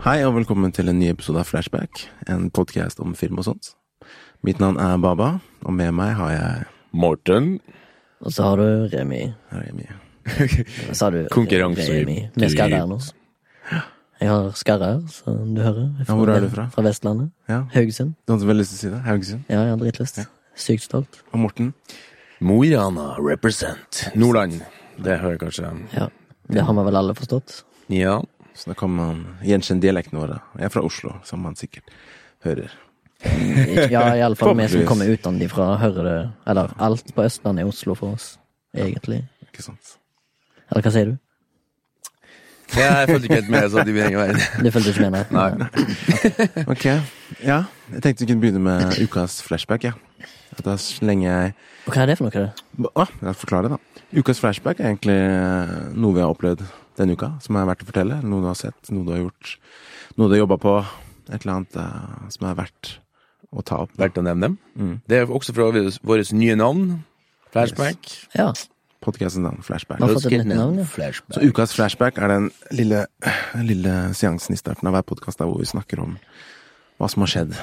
Hei og velkommen til en ny episode av Flashback, en podkast om film og sånt. Mitt navn er Baba, og med meg har jeg Morten. Og så har du Remi. her er mye. Hva Sa du Konkurranse- Remi. Med skarre nå. Jeg har skarre her, så du hører. Ja, hvor er du fra? Fra Vestlandet. Ja, Haugesund. du hadde vel lyst til å si det? Haugesund. Ja, jeg har dritlyst. Sykt stolt. Og Morten. Mo i Rana represent. Nordland. Det hører jeg kanskje. Ja. Det har vi vel alle forstått. Ja. Så da kan man gjenkjenne dialekten vår. da. Jeg er fra Oslo, som man sikkert hører. Ikke- Ja, iallfall vi som Forhåpentligvis. kommer utenfra, hører det Eller alt på Østlandet er Oslo for oss, egentlig. Ikke sant? Eller hva sier du? Jeg fulgte ikke helt med, så de vil henge veien. Du fulgte ikke med? Nei. Ok, ja. Jeg tenkte vi kunne begynne med ukas flashback, ja. At Da slenger jeg Og hva er det for noe? det? Ah, jeg forklarer det, da. Ukas flashback er egentlig eh, noe vi har opplevd denne uka, som er verdt å fortelle. Noe du har sett, noe du har gjort, noe du har jobba på. Et eller annet eh, som er verdt å ta opp. Verdt å nevne dem. Det er også fra vårt nye navn. Flashback. Ja. Podkastens navn, Flashback. Nå har vi fått et nytt navn, ja. Så Flashback. ukas flashback er den lille, den lille seansen i starten av hver podkast hvor vi snakker om hva som har skjedd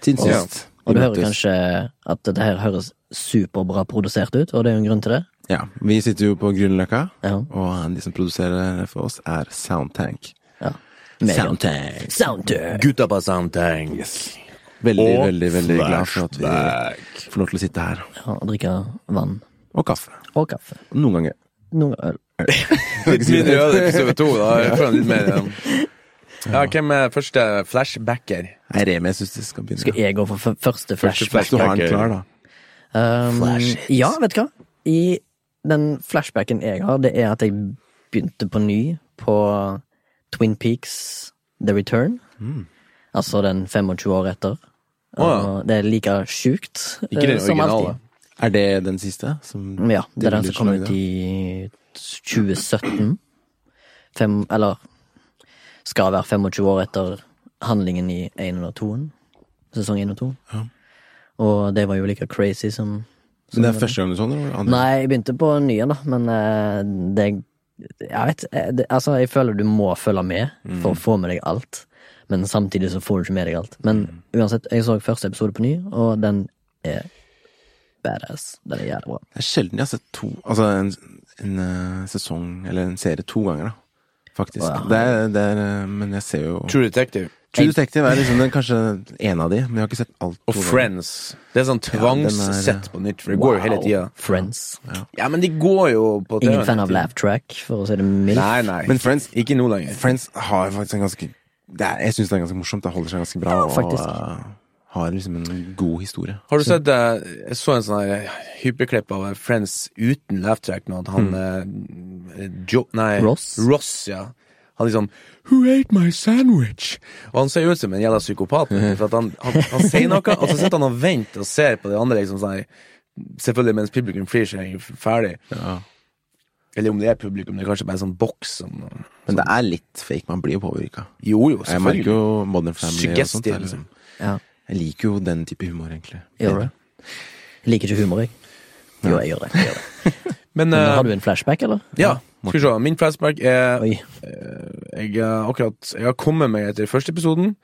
siden Og- sist. Og du vi hører møttes. kanskje at det her høres superbra produsert ut, og det er jo en grunn til det. Ja, Vi sitter jo på Grünerløkka, Ja. og eh, de som produserer for oss, er Soundtank. ja. Meget. Soundtank. Soundtrack. Gutta på Soundtank. Veldig, Og veldig, veldig glad for at vi flashback. får lov til å sitte her. Ja, og drikke vann. Og kaffe. Og kaffe. Noen ganger. Noen ganger øl. Litt mindre øl i episode to, da. Jeg føler litt mer igjen. Ja, hvem er første flashbacker? Nei, Remi, jeg syns det skal begynne. Skal jeg gå for f første flashback? Hvis du har en klar, da. Um, Flash hits. ja, vet du hva? I den flashbacken jeg har, det er at jeg begynte på ny på Twin Peaks The Return. Altså den 25 år etter. Mm. Å, ja. Og det er like sjukt Ikke den eh, som originale. alltid. Er det den siste? Som Mm, Ja, det er den som kom lagde? ut i 2017. Fem, eller skal være 25 år etter handlingen i 1 og 2. Sesong 1 og 2. Ja. Og det var jo like crazy som Men det er første gang du så den? eller var det andre? Nei, jeg begynte på nye, da, men eh, det Jeg vet eh, det, Altså, jeg føler du må følge med Mm. for å få med deg alt, men samtidig så får du ikke med deg alt. Men Mm. uansett, jeg så første episode på ny, og den er badass. Den er jævlig bra. Det er sjelden jeg har sett to Altså en, en eh, sesong, eller en serie, to ganger, da. Faktisk. Wow. Det er, det er, eh, men jeg ser jo True, True Detective. Detective er liksom den, kanskje en av de, men jeg har ikke sett alt. Og to ganger. Friends. Det er sånn den er- tvangssett på nytt, for det går jo hele Wow. tida. Friends. Ja, men de går jo på TV. Ingen fan av laugh track, for å si det mildt. Nei, nei. Men Friends, ikke nå lenger. Friends har faktisk en ganske det er, Jeg syns det er ganske morsomt. Det holder seg ganske bra. Ja, og faktisk. eh, har liksom en god historie. Har du sett eh, Jeg så en sånn her hyperklipp av eh, Friends uten laugh track nå, at han Hmm. eh, jo, Nei, Ross? Ross, ja. Han liksom Who ate my sandwich? Og han ser jo ut som en jævla psykopat. For at han, han, han sier noe, og så sitter han og venter og ser på de andre, liksom sånn her. Selvfølgelig mens publikum flyr seg ferdig. Ja. Eller om det er publikum, det er kanskje bare en sånn boks som Men det er litt fake. Man blir jo påvirka. Jo, jo, Jeg merker selvfølgelig. jo Modern Family og sånt. Suggestive. Jeg, liksom. Ja. jeg liker jo den type humor, egentlig. Gjør det? Jeg liker ikke humor, jeg. Jo, jeg gjør det. Jeg gjør det. Men, Men eh, har du en flashback, eller? Ja, skal vi se. Min flashback er Oi. jeg, er akkurat, jeg har kommet meg etter første episoden.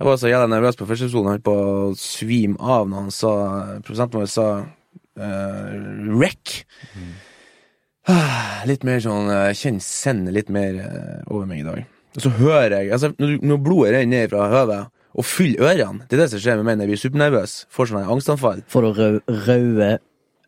Jeg var så jævla nervøs på første episoden. Jeg holdt på å svime av når han sa produsenten vår sa uh, wreck. Ah, Litt mer sånn eh, Kjenn send litt mer eh, over meg i dag. Og så hører jeg altså, Når, når blodet renner ned fra høvet og fyller ørene Det er det som skjer med meg når jeg blir supernervøs. Får sånn her angstanfall. Får du rø- røde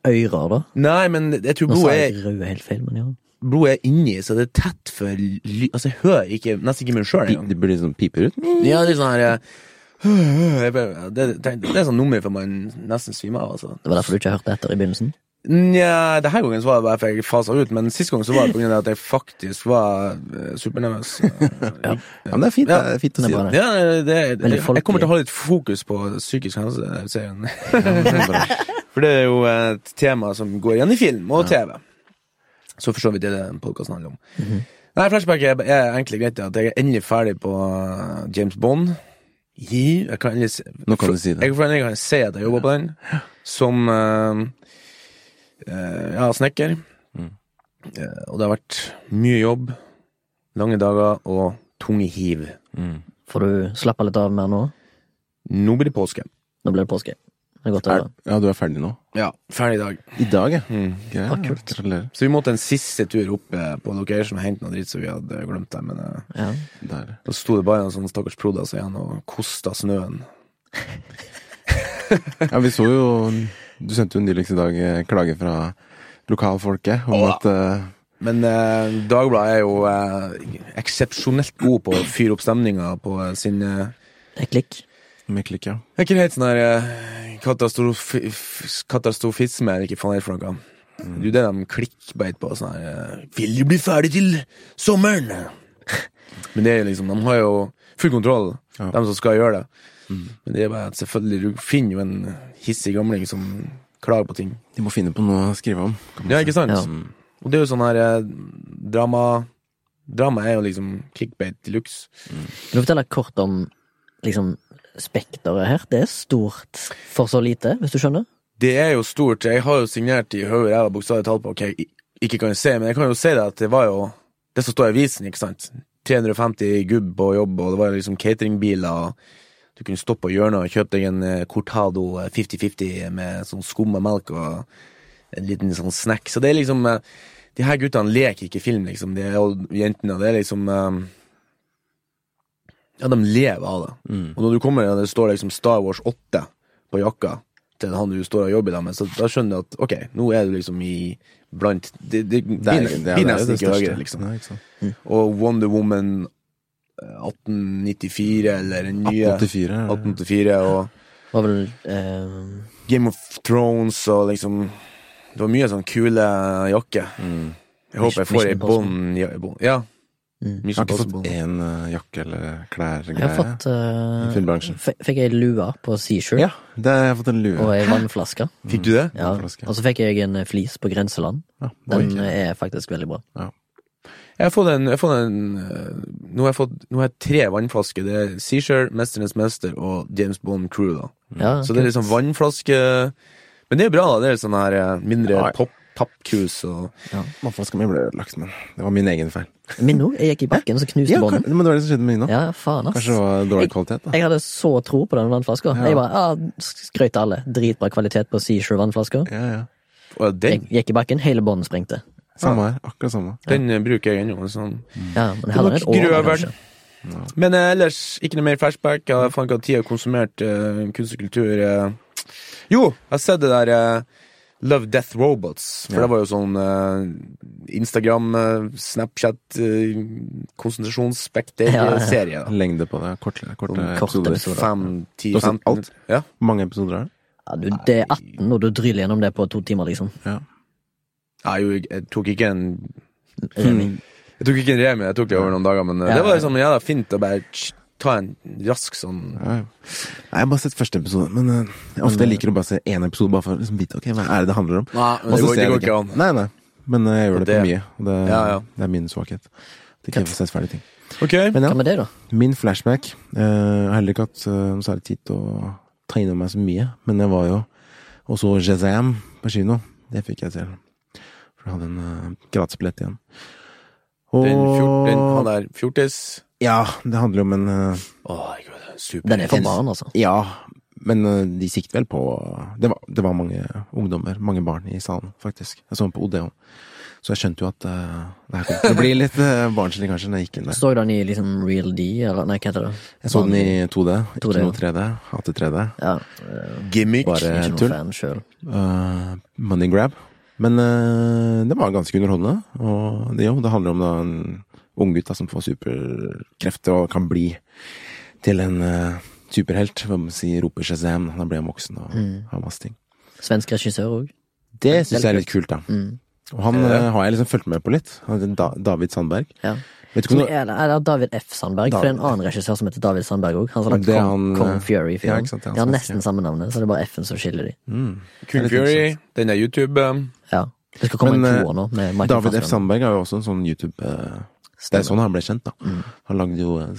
ører, da? Nei, men jeg tror Nå sa blodet er jeg røde helt feil, men ja. blodet er inni, så det er tett for ly... Altså, jeg hører ikke, nesten ikke meg sjøl Pi- engang. Det blir sånn piper ut. Ja, det er sånn her eh, jeg bare- det, det, det er sånn nummer for man nesten svimer av, altså. Det var derfor du ikke hørte etter i begynnelsen? Nja, denne gangen så var det bare for jeg fasa ut, men sist gang så var det på grunn av at jeg faktisk var eh, supernervøs. ja. Ja, men det er fint, det er fint å det er si bra, det. det. Ja, det, det, Veldig jeg kommer folkelig. til å ha litt fokus på psykisk helse, eh, serien. Det er bra. For det er jo et tema som går igjen i film og TV. Så for så vidt er det podkasten handler om. Nei, flashback er, er egentlig greit. At jeg er endelig ferdig på uh, James Bond. Gi- Jeg kan endelig si, Nå kan du si det. Jeg kan endelig si at jeg jobber på den, som uh, uh, ja, snekker. Eh, og det har vært mye jobb, lange dager og tunge hiv. Mm. Får du slappe litt av mer nå? Nå blir det påske. Nå blir det påske. Det er godt å Er, høre. ja, du er ferdig nå? Ja, ferdig i dag. I dag, ja. Mm. Greit. Ah, kult. Gratulerer. Så vi måtte en siste tur opp eh, på location og hente noe dritt, så vi hadde glemt det. Men eh, Ja. Der. da sto det bare en sånn stakkars prodas igjen og kosta snøen. Ja, vi så jo Du sendte jo nyligst i dag eh, klage fra lokalfolket om Åh. at eh, Men eh, Dagbladet er jo eh, eksepsjonelt god på å fyre opp stemninga på eh, sin eh, Det er klikk. Med klikk, ja. Det er ikke helt sånn her eh, katastrof f- katastrofisme, eller ikke faen er det for noe. Mm. Det er jo det de klikkbeit på. sånn her eh, 'Vil du bli ferdig til sommeren?' Men det er jo liksom, de har jo full kontroll, Ja. Mm. de som skal gjøre det. Men det er bare at selvfølgelig, du finner jo en hissig gamling som klager på ting. De må finne på noe å skrive om. kan man Ja, si. ikke sant? Ja. Og det er jo sånn her eh, drama Drama er jo liksom clickbait de luxe. Kan du fortelle kort om liksom, spekteret her? Det er stort for så lite, hvis du skjønner? Det er jo stort. Jeg har jo signert i hodet og ræva bokstavelig talt på hva jeg ikke kan se, men jeg kan jo si det at det var jo det som står i avisen, ikke sant. 350 gubb på jobb, og det var jo liksom cateringbiler, og du kunne stoppe på hjørnet og kjøpe deg en eh, Cortado eh, 50-50 med sånn skum og melk og en liten sånn snack. Så det er liksom eh, De her guttene leker ikke film, liksom. De er jo jentene, og det er liksom eh, Ja, de lever av det. Mm. Og når du kommer inn og det står liksom Star Wars 8 på jakka til han du står og jobber i dag med, så da skjønner du at ok, nå er du liksom i blant Det, det, det, Det er- det er- det er blir jo nesten det ikke største. høyere, liksom. Nei, ikke sant. Og Wonder Woman eh, 1894 eller den nye 1884. er det- 1884 og Var vel eh, Game of Thrones og liksom Det var mye sånn kule jakker. Mm. Jeg håper jeg får ei bånd ja, Bond- Ja. Mm. Jeg har Mission ikke fått Possible. én eh, jakke eller klær Jeg har greie. fått eh, I filmbransjen. f- Fikk jeg lue på Seashore Ja, det har jeg fått en lue. og ei vannflaske. Fikk du det? Ja. Vannflaske. Og så fikk jeg en eh, flis på Grenseland. Ja, det Den eh, gikk jeg. er faktisk veldig bra. Jeg har fått en, jeg har fått en eh, nå, har jeg fått, nå har jeg tre vannflasker. Det er Seashore, Mesternes Mester og James Bond Crew. da Mm. Ja, Så det er liksom vannflaske Men det er jo bra, da. Det er sånn her eh, mindre Ja. pop tappkrus og Vannflaska mi ble ødelagt, men det var min egen feil. Min òg. Jeg gikk i bakken, så knuste Ja, kan, båndet. men det var det som skjedde med min òg. Ja, faen, ass. Kanskje det var dårlig kvalitet, da. Jeg hadde så tro på den vannflaska. Ja. Jeg bare ah, skrøt til alle. Dritbra kvalitet på Seashore-vannflaska. Ja, ja. Og den, Jeg gikk i bakken, hele båndet sprengte. Samme her. Akkurat samme. den eh, bruker jeg ennå. Sånn. Ja, men heller nok et år, grøveren. kanskje. Men eh, ellers, ikke noe mer flashback. Jeg har faen ikke hatt tid til å konsumert eh, kunst og kultur. eh. Jo, jeg har sett det der eh, Love Death Robots. For Ja. det var jo sånn eh, Instagram, eh, Snapchat, eh, Ja, ja. konsentrasjonsspekter-serie. da. Lengde på det. Korte, korte Sånn korte episoder. episoder. Fem, ti, Du har sett 15 alt? minutter. Ja. Mange episoder er det? Ja, du, det er 18, og du dryller gjennom det på to timer, liksom. Nei, jo, jeg- jeg tok ikke en Remi. Hmm, Jeg tok ikke en remi, jeg tok det over noen dager, men eh, Ja. det var liksom jævla fint å bare tsk, ta en rask sånn Ja, ja. Nei, jeg har bare sett første episode, men eh, ofte jeg liker å bare se én episode bare for å liksom vite ok, hva er det det handler om. Nei, men Og det så går, ser det jeg går ikke an. Nei, nei. Men eh, jeg gjør det, Det- på mye. Og det, Ja, ja. det er min svakhet. At ikke jeg får sett ferdig ting. Ok, Men ja, Hva med det, da? min flashback eh, Jeg har heller ikke hatt eh, noe særlig tid til å ta inn over meg så mye, men jeg var jo og så Jazam på kino. Det fikk jeg til. For jeg hadde en eh, gratisbillett igjen. Og den, fjort, den han der fjortis Ja, det handler jo om en eh, Å, herregud, super. Den er for barn, altså. Ja, men eh, de sikter vel på det var, det var mange ungdommer, mange barn i salen, faktisk. Jeg så den på Odeon. Så jeg skjønte jo at eh, det her kom til å bli litt uh, barnslig, kanskje, når jeg gikk inn der. Så du den i liksom Real D, eller nei, hva heter det? Jeg så den i 2D, 2D, ikke noe 3D. Hater 3D. Ja, Gimmick. Bare ikke noe tull. fan selv. Eh, money grab. Men eh, det var ganske underholdende. Og det, jo, det handler om da, en ung gutt da, som får superkrefter og kan bli til en eh, superhelt. Hva man sier, roper Shazam. Da blir han voksen og Mm. har masse ting. Svensk regissør òg. Det syns jeg er litt kult, da. Mm. Og han Ja. eh, har jeg liksom fulgt med på litt. Han heter Da, David Sandberg. Ja. Vet ikke Som om du er, eller David F. Sandberg, for det er en David. annen regissør som heter David Sandberg òg. Han som har lagt Det er Kong, han, Kong eh, Fury. ja, Ja, ikke sant, det er han de har som er nesten samme navnet, så det er bare F-en som skiller de. mm. Kung litt Fury, den der YouTube eh, Ja. Det skal komme Men, en eh, toer nå, med Michael David F. Fassbender. Sandberg er jo også en sånn YouTube eh, Det er sånn han ble kjent, da. Mm. Han lagde jo eh,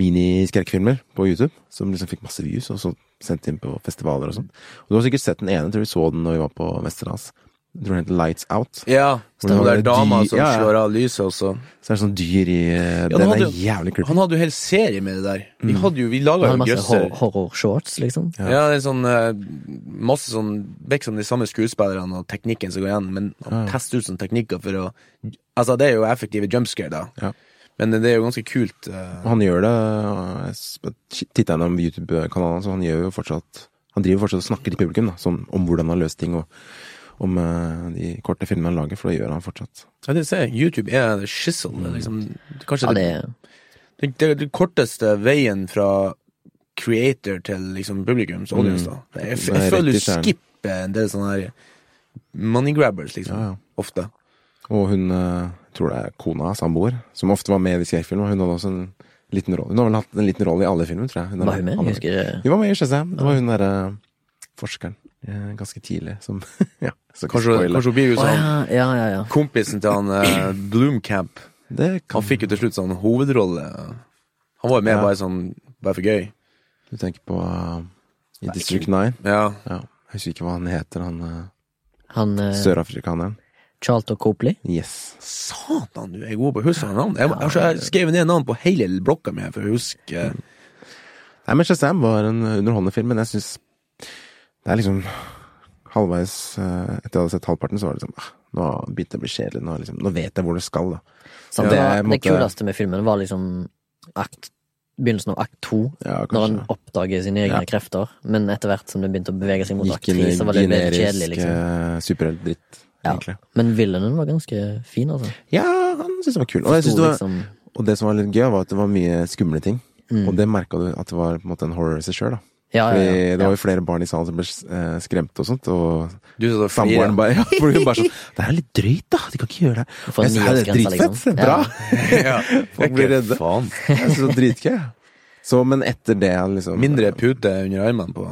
miniskrekkfilmer på YouTube som liksom fikk masse views, og så sendt inn på festivaler og sånn. Og du har sikkert sett den ene, tror vi så den når vi var på Vesterålen. Jeg tror den heter Lights Out. Ja, Hvordan stemmer. var Det er det dama de- som ja, ja. slår av lyset, og så Så er det sånn dyr i eh, Ja, Den han er hadde jo- jævlig kul. Han hadde jo en hel serie med det der. Vi hadde jo, vi Han laga hadde jo masse gjødsel. eh, hor horror-shorts, liksom. Ja. Ja, det er sånn eh, masse sånn Vekk som de samme skuespillerne og teknikken som går igjen, men han Ja. tester ut sånne teknikker for å Altså, det er jo effektive jumpscare, da. Ja. Men det er jo ganske kult. eh, Og han gjør det og Jeg s- tittet gjennom YouTube-kanalen, så han gjør jo fortsatt Han driver fortsatt og snakker til publikum da, sånn, om hvordan han løser ting, og om eh, de korte filmene han lager, for det gjør han fortsatt. Ja, det ser jeg. YouTube er the shizzle. Det er liksom, kanskje Ja, det, det, det, det, det korteste veien fra creator til liksom publikums audience, da. Jeg, Mm. f- Det er jeg rett i føler du kjernen. skipper en del sånne her money grabbers, liksom. Ja, ja. Ofte. Og hun, eh, tror det er kona, samboer, som ofte var med i skrekkfilmer, hun hadde også en liten rolle. Hun har vel hatt en liten rolle i alle filmer, tror jeg. Hun er- var hun med? alle- Jeg husker eh, det. Hun var med i Shazam. Det var hun derre forskeren eh, ganske tidlig som Ja, så ikke Kanskje, spoile. kanskje hun blir jo Å sånn ja, ja, ja. ja. Kompisen til han eh, Bloomcamp Det kan Han fikk jo til slutt sånn hovedrolle. Han var jo med Ja. bare sånn bare for gøy. du tenke på eh, i District 9. Ja. Ja. Jeg husker ikke hva han heter, han eh, Han eh, sørafrikaneren. Charlton Copley. Yes. Satan, du jeg er god på å huske navn. Jeg, altså, jeg skrev ned navn på hele blokka mi for å huske Mm. eh, Nei, men Shazam var en underholdende film, men jeg syns Det er liksom halvveis eh, Etter jeg hadde sett halvparten, så var det liksom ah, Nå begynte det å bli kjedelig. Nå, liksom, nå vet jeg hvor det skal, da. Så Ja, det det, er på en det måte- kuleste med filmen var liksom akt, begynnelsen av akt to. Ja, Når han kanskje. oppdager sine egne Ja. krefter, men etter hvert som det begynte å bevege seg mot akt Gikk inn tre, i så var det mer kjedelig, generisk liksom. eh, superheltdritt, Ja. egentlig. Men villainen var ganske fin, altså. Ja, han syntes det var kult. Og, jeg synes Sto det var, liksom, og det som var litt gøy, var at det var mye skumle ting. Og det merka du at det var på en måte en horror i seg sjøl, da. Mm. ja, ja, Fordi ja, det ja. var jo flere barn i salen som ble eh, skremt og sånt, og Du satt og flira. Samboeren bare, ja, for hun bare sånn Det her er litt drøyt, da. De kan ikke gjøre det. Få en Jeg sa, det er niårsgrense, dritfett. liksom. Bra. Ja. Folk blir redde. Faen. Jeg synes det var dritgøy. Så, men etter det liksom Mindre pute under armene på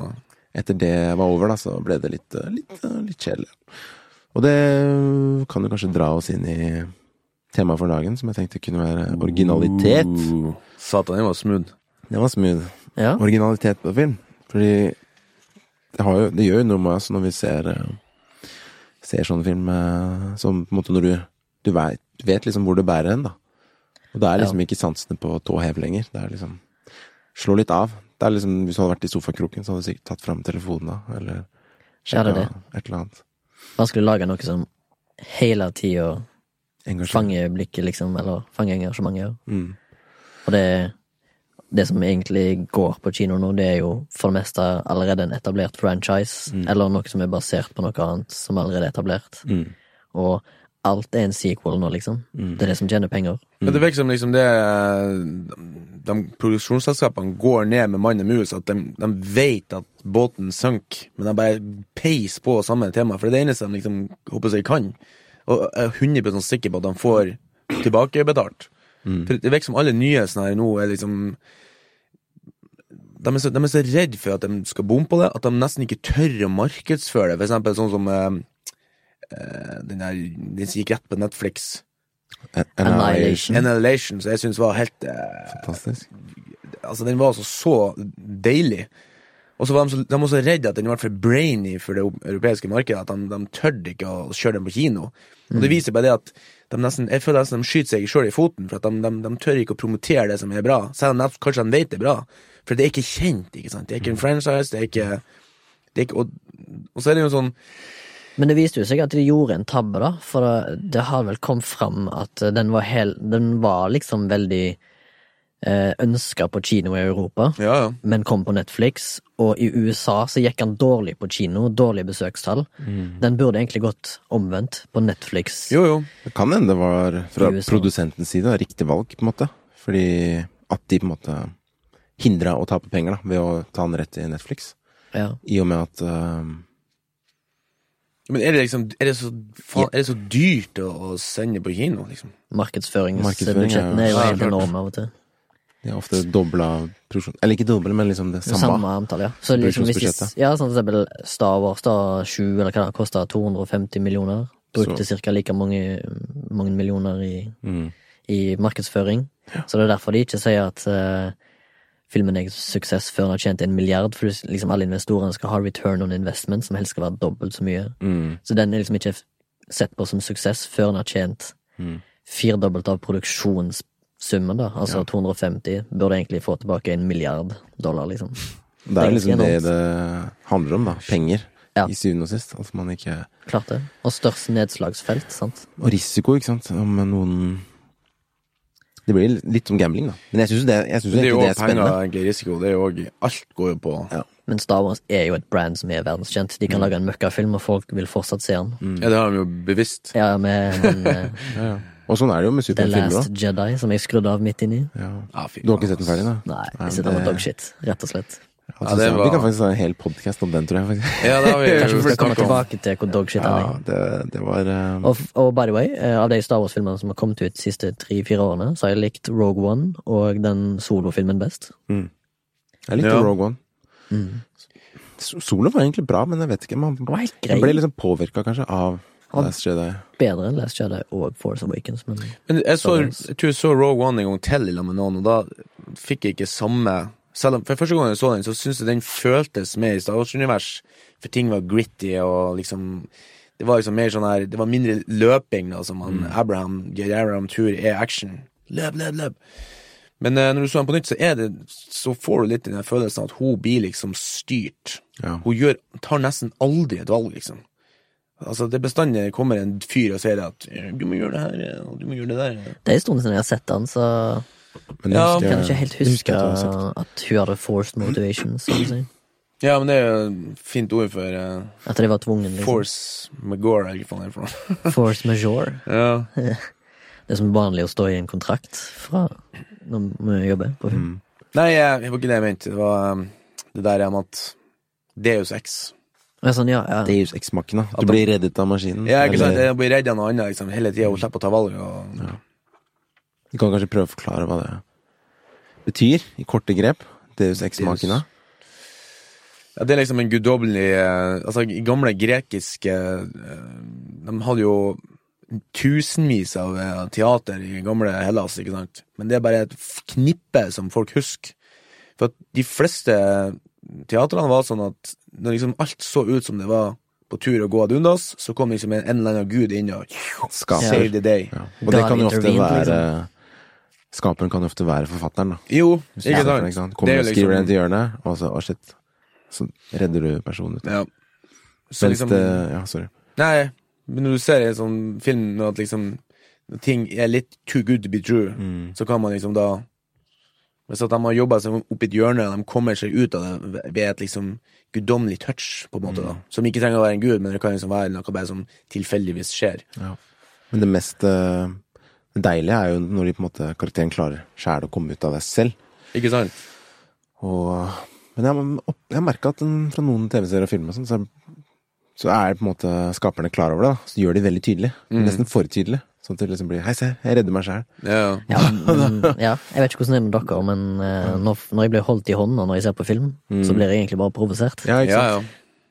Etter det var over, da, så ble det litt, eh, litt, eh, litt kjedelig. Og det kan jo kanskje dra oss inn i temaet for dagen, som jeg tenkte kunne være originalitet. Uh, Satan, den var smooth. Det var smooth. ja. Originalitet på film. Fordi det, har jo, det gjør jo noe med oss når vi ser, eh, ser sånne film eh, som på en måte når du Du vet, vet liksom hvor det bærer hen, da. Og det er liksom ikke sansene på tå hev lenger. Det er liksom Slå litt av. Det er liksom, Hvis du hadde vært i sofakroken, så hadde du sikkert tatt fram telefonen da, eller Ja, sjekka det er det. et eller annet. Vanskelig å lage noe som hele tida Engasjement. fanger blikket, liksom, eller fanger engasjementet. Mm. Og det, det som egentlig går på kino nå, det er jo for det meste allerede en etablert franchise, eller noe som er basert på noe annet som allerede er etablert. Mm. Og alt er en sequel nå, liksom. Det er det som tjener penger. Men det virker som liksom det eh, De produksjonsselskapene går ned med mann og mus, at de, de vet at båten sank, men de bare peiser på samme tema, for det er det eneste de liksom håper seg kan. Og jeg er 100 sikker på at de får tilbakebetalt. For det virker som alle nye sånne her nå er liksom de er, så, de er så redd for at de skal bomme på det, at de nesten ikke tør å markedsføre det. For eksempel sånn som eh, eh, den der Den som gikk rett på Netflix. An- Annihilation. Annihilation, som jeg syns var helt eh, Fantastisk. Altså, den var altså så deilig. Og så var de, så, de var så redde at den var for brainy for det europeiske markedet, at de, de tørde ikke å kjøre den på kino. Og det viser bare det at de nesten, jeg føler nesten de skyter seg sjøl i foten, for at de, de, de tør ikke å promotere det som er bra, selv om de kanskje de vet det er bra. For det er ikke kjent, ikke sant. Det er ikke en franchise, det er ikke, det er ikke og, og så er det jo sånn Men det viste jo seg at de gjorde en tabbe, da. For det- det har vel kommet fram at eh, den var, hel, den var liksom veldig eh, ønska på kino i Europa, Ja, ja. men kom på Netflix. Og i USA så gikk han dårlig på kino, dårlige besøkstall. Den burde egentlig gått omvendt, på Netflix. Mm. Jo, jo. Det kan hende det var fra I USA. produsentens side da, riktig valg, på en måte. Fordi at de på en måte hindra å tape penger da, ved å ta den rett i Netflix. Ja. I og med at eh, Men er det liksom Er det så, faen, er det så dyrt å, å sende på kino, liksom? Markedsføring er jo- Markedsføringsbudsjettene er jo Ja, helt klart. enorme av og til. de har ofte dobla produksjonen Eller ikke dobla, men liksom det Samme, samme. antall, ja. Så liksom hvis de, Produksjonsbudsjettet. ja, sånn for eksempel Star Wars, da, 7 eller hva det er, kosta 250 millioner. Brukte ca. like mange, mange millioner i, Mm. i markedsføring. Så det er derfor de ikke sier at eh, filmen er suksess før den har tjent en milliard, for liksom alle investorene skal ha return on investment, som helst skal være dobbelt så mye. Mm. Så den er liksom ikke sett på som suksess før en har tjent firdobbelt av produksjonssummen, da. Altså 250 burde egentlig få tilbake en milliard dollar, liksom. Det er jo liksom ganske det enormt. det handler om, da. Penger. Ja. I syvende og sist. At man ikke Klart det. Og størst nedslagsfelt, sant. Og risiko, ikke sant. Om noen Det blir litt som gambling, da. Men jeg syns jo det, jeg synes jo Det er jo egentlig det også er penger, spennende. egentlig, risiko. Det er jo også- Alt går jo på Ja. Men Star Wars er jo et brand som er verdenskjent. De kan lage en møkkafilm, og folk vil fortsatt se den. Mm. Ja, det har de jo bevisst. Ja, med den, eh, Og sånn er det jo med The superfilmer Last òg. Jedi, som jeg skrudde av midt inni. Ja. Ja, Ah, fy Du har ikke faen, sett den ferdig, da? Nei, men jeg sitter med det- dogshit, rett og slett. Ja, det Vi kan var faktisk ha en hel podkast om den, tror jeg. faktisk. Ja, det har vi Kanskje vi skal komme snakket om. tilbake til hvor dogshit er. Ja, det, det var eh, Og, og by the way, eh, av de Star Wars-filmene som har kommet ut de siste tre-fire årene, så har jeg likt Rogue One og den solofilmen best. Jeg likte Ja. Rogue One. S- Solo var egentlig bra, men jeg vet ikke. Man var helt grei. man ble liksom påvirka kanskje av Han- Last Jedi. Bedre enn Last Jedi og Force Awakens, men Men jeg, så, Wars. jeg tror jeg så Rogue One en gang til i lag med noen, og da fikk jeg ikke samme selv om, For første gang jeg så den, så syntes jeg den føltes mer i Star Wars-univers, for ting var gritty og liksom Det var liksom mer sånn her Det var mindre løping, da, som Mm. han Abraham J. Abraham tror er action. Løp, løp, løp. Men eh, når du så den på nytt, så er det Så får du litt den der følelsen at hun blir liksom styrt. Ja. Hun gjør, tar nesten aldri et valg, liksom. Altså, det bestandig kommer en fyr og sier at eh, 'du må gjøre det her', eh, og 'du må gjøre det der'. eh. det er en stund siden jeg har sett den, så Men Ja, husker jeg kan ikke helt det husker huske jeg at du har sagt. at hun hadde forced motivation, så å si. Ja, men det er jo et fint ord for eh, At det var tvungen, liksom. Force Magore, eller hva faen det er for noe. Force majeure. ja. Det er som vanlig å stå i en kontrakt fra når vi jobber på Mm. film. Nei, eh, det var ikke det jeg mente. Det var eh, det der med at Deus Ex. Og jeg er sånn, ja, ja. Deus Ex-makken, da. Du blir reddet av maskinen. Ja, ikke sant? eller- Jeg blir redd av noe annet liksom, hele tida. Hun slipper å ta valg. Og... Du kan kanskje prøve å forklare hva det betyr, i korte grep. Deus Ex-makken, da. Ja, det er liksom en guddommelig eh, Altså, i gamle grekiske eh, De hadde jo tusenvis av eh, teater i gamle Hellas, ikke sant? Men det er bare et f- knippe som folk husker. For at de fleste teatrene var sånn at når liksom alt så ut som det var på tur å gå ad undas, så kom liksom en, en eller annen gud inn og Skaper. save the day. Ja. Og det God kan jo ofte intervened, være Skaperen kan jo ofte være forfatteren, da. Jo, Hvis du ikke ser for deg, sant? Kommer Det er og jo skriver liksom- den til hjørnet, og så Å, shit. Så redder du personen ut. Ja. Så Mens liksom- det Ja, sorry. Nei, men når du ser en sånn film når at liksom når ting er litt too good to be true, så kan man liksom da Hvis at de har jobba seg opp i et hjørne, og de kommer seg ut av det ved et liksom guddommelig touch, på en måte, da. Som ikke trenger å være en gud, men det kan liksom være noe bare som tilfeldigvis skjer. Ja. Men det mest eh, deilige er jo når de på en måte karakteren klarer sjæl å komme ut av det selv. Ikke sant? Og, men jeg, har opp- jeg har merka at den, fra noen TV-serier og filmer og sånn, så, så er på en måte skaperne klar over det. Da. Så gjør de veldig tydelig. Mm. Nesten for tydelig. Sånn at det liksom blir Hei, se, jeg redder meg sjæl. Ja. Ja, men, ja, jeg vet ikke hvordan det er med dere, men eh, når, når jeg blir holdt i hånda når jeg ser på film, så blir jeg egentlig bare provosert. Mm. Ja, ikke ja, sant?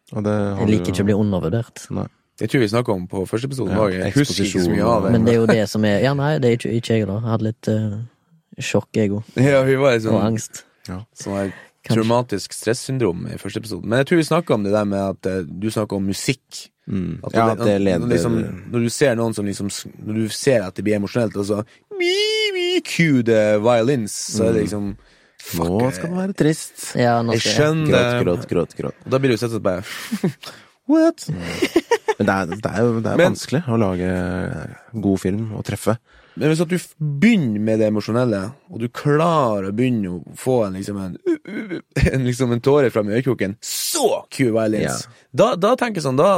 ja. Og det har Jeg du liker jo- ikke å bli undervurdert. Nei. Det tror jeg vi snakka om på første episode. Ja, Ja, jeg husker ikke så mye av det. Men det er jo det som er Ja, nei, det er ikke, ikke jeg, da. Jeg hadde litt uh, sjokk-ego ja, vi var i og Mm. sånn, angst. sånn her Kanskje. traumatisk stressyndrom i første episode. Men jeg tror vi snakka om det der med at eh, du snakka om musikk. Mm. At Ja, at det leder liksom, Når du ser noen som liksom Når du ser at det blir emosjonelt, og så mi, mi, Cue the violins, så er det liksom Nå skal man være trist. Ja, nå Jeg skal jeg skjønner Gråt, det. gråt, gråt. gråt. Og da blir du sett og bare What? Mm. Men det er, det er jo det er Men- vanskelig å lage god film og treffe. Men hvis at du f- begynner med det emosjonelle, og du klarer å begynne å få en liksom en, en, liksom en tåre fram i øyekroken, så cue violins! Ja. Da, da tenker jeg sånn, da,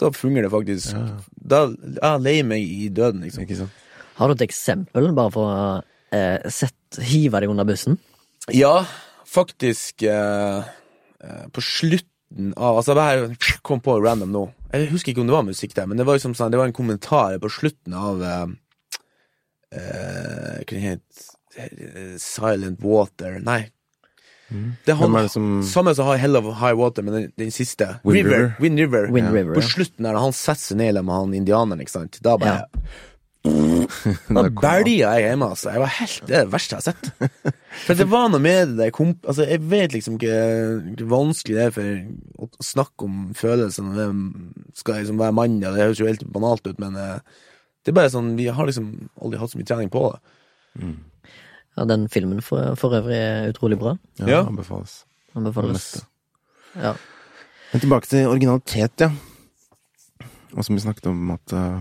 da fungerer det faktisk. Da jeg leier meg i døden, liksom. Ikke sant? Har du et eksempel, bare for å eh, sett, hive deg under bussen? Ja, faktisk eh, eh, På slutten av Altså, det her kom på random nå. Jeg husker ikke om det var musikk der, men det var liksom sånn Det var en kommentar på slutten av eh, eh, Hva het det? Silent Water Nei. Det er han Mm. Hvem er det som- samme som har Hell of High Water, men den, den siste. Wind River. River. Wind River. Wind Ja. River. På ja. slutten der, da han setter seg ned sammen med han indianeren, ikke sant. Da bare Da bælja jeg hjemme, altså. Jeg var helt, det er det verste jeg har sett. For det var noe med det der komp... Altså, jeg vet liksom ikke hvor vanskelig det er for å snakke om følelsene og det skal liksom være mann, ja, det høres jo helt banalt ut, men eh, det er bare sånn Vi har liksom aldri hatt så mye trening på det. Ja, den filmen for, for øvrig er utrolig bra. Ja, Ja. anbefales. Anbefales. Neste. Ja. Men tilbake til originalitet, ja. Og som vi snakket om at eh,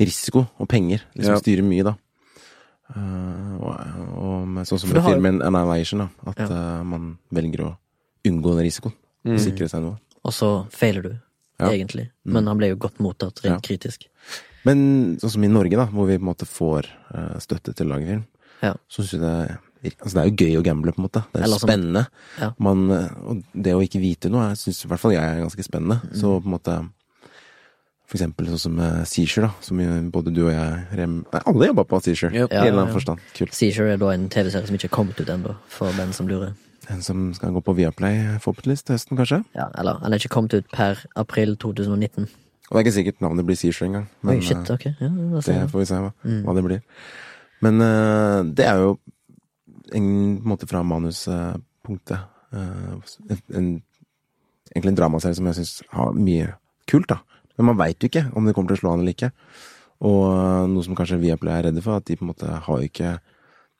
risiko og penger liksom Ja. styrer mye, da. Eh, og, og med, sånn som For det med har jo- filmen Annihilation, da. At Ja. eh, man velger å unngå den risikoen. Mm. Sikre seg noe. Og så feiler du, Ja. Mm. egentlig. Men han ble jo godt mottatt rent Ja. kritisk. Men sånn som i Norge, da, hvor vi på en måte får eh, støtte til å lage film, Ja. så syns jeg det virker Altså, det er jo gøy å gamble, på en måte. Det er Eller jo sånn- spennende. Ja. Man, eh, og det å ikke vite noe, jeg syns i hvert fall jeg er ganske spennende. Mm. Så på en måte For eksempel sånn som eh, Seizure, da, som jo både du og jeg rem... Nei, alle jobba på Seizure, Yep. i en eller Ja, ja. annen forstand. Kult. Seizure er da en TV-serie som ikke er kommet ut ennå, for den som lurer. En som skal gå på Viaplay, eh, forhåpentligvis, til høsten, kanskje. Ja, eller han er ikke kommet ut per april 2019. Og det er ikke sikkert navnet blir Seizure engang. Oi, men, eh, shit, ok. sånn, Ja, da ser Det jeg. får vi se hva, hva det blir. Men eh, det er jo en måte fra manuspunktet en, en, Egentlig en dramaserie som jeg syns har mye kult, da. Men man veit jo ikke om det kommer til å slå an eller ikke. Og eh, noe som kanskje Viaplay er redde for, at de på en måte har jo ikke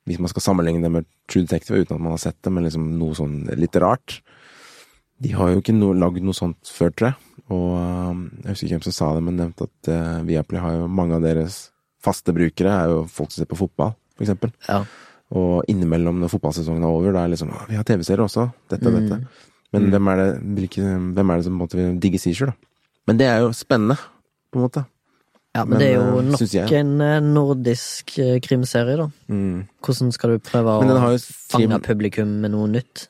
Hvis man skal sammenligne det med True Detective uten at man har sett det, men liksom noe sånn litt rart De har jo ikke no, lagd noe sånt før, tror jeg. Og eh, jeg husker ikke hvem som sa det, men nevnte at eh, Viaplay har jo mange av deres faste brukere er jo folk som ser på fotball, for eksempel. Ja. Og innimellom når fotballsesongen er over, da er det liksom «Å, Vi har TV-serier også. Dette og dette. Men hvem, er det, hvilke, hvem er det som på en måte vil digge Seizure, da? Men det er jo spennende, på en måte. ja, men, Men, det er jo eh, synes nok jeg- en eh, nordisk eh, krimserie, da. Hvordan skal du prøve Men den har å jo fange trim, publikum med noe nytt?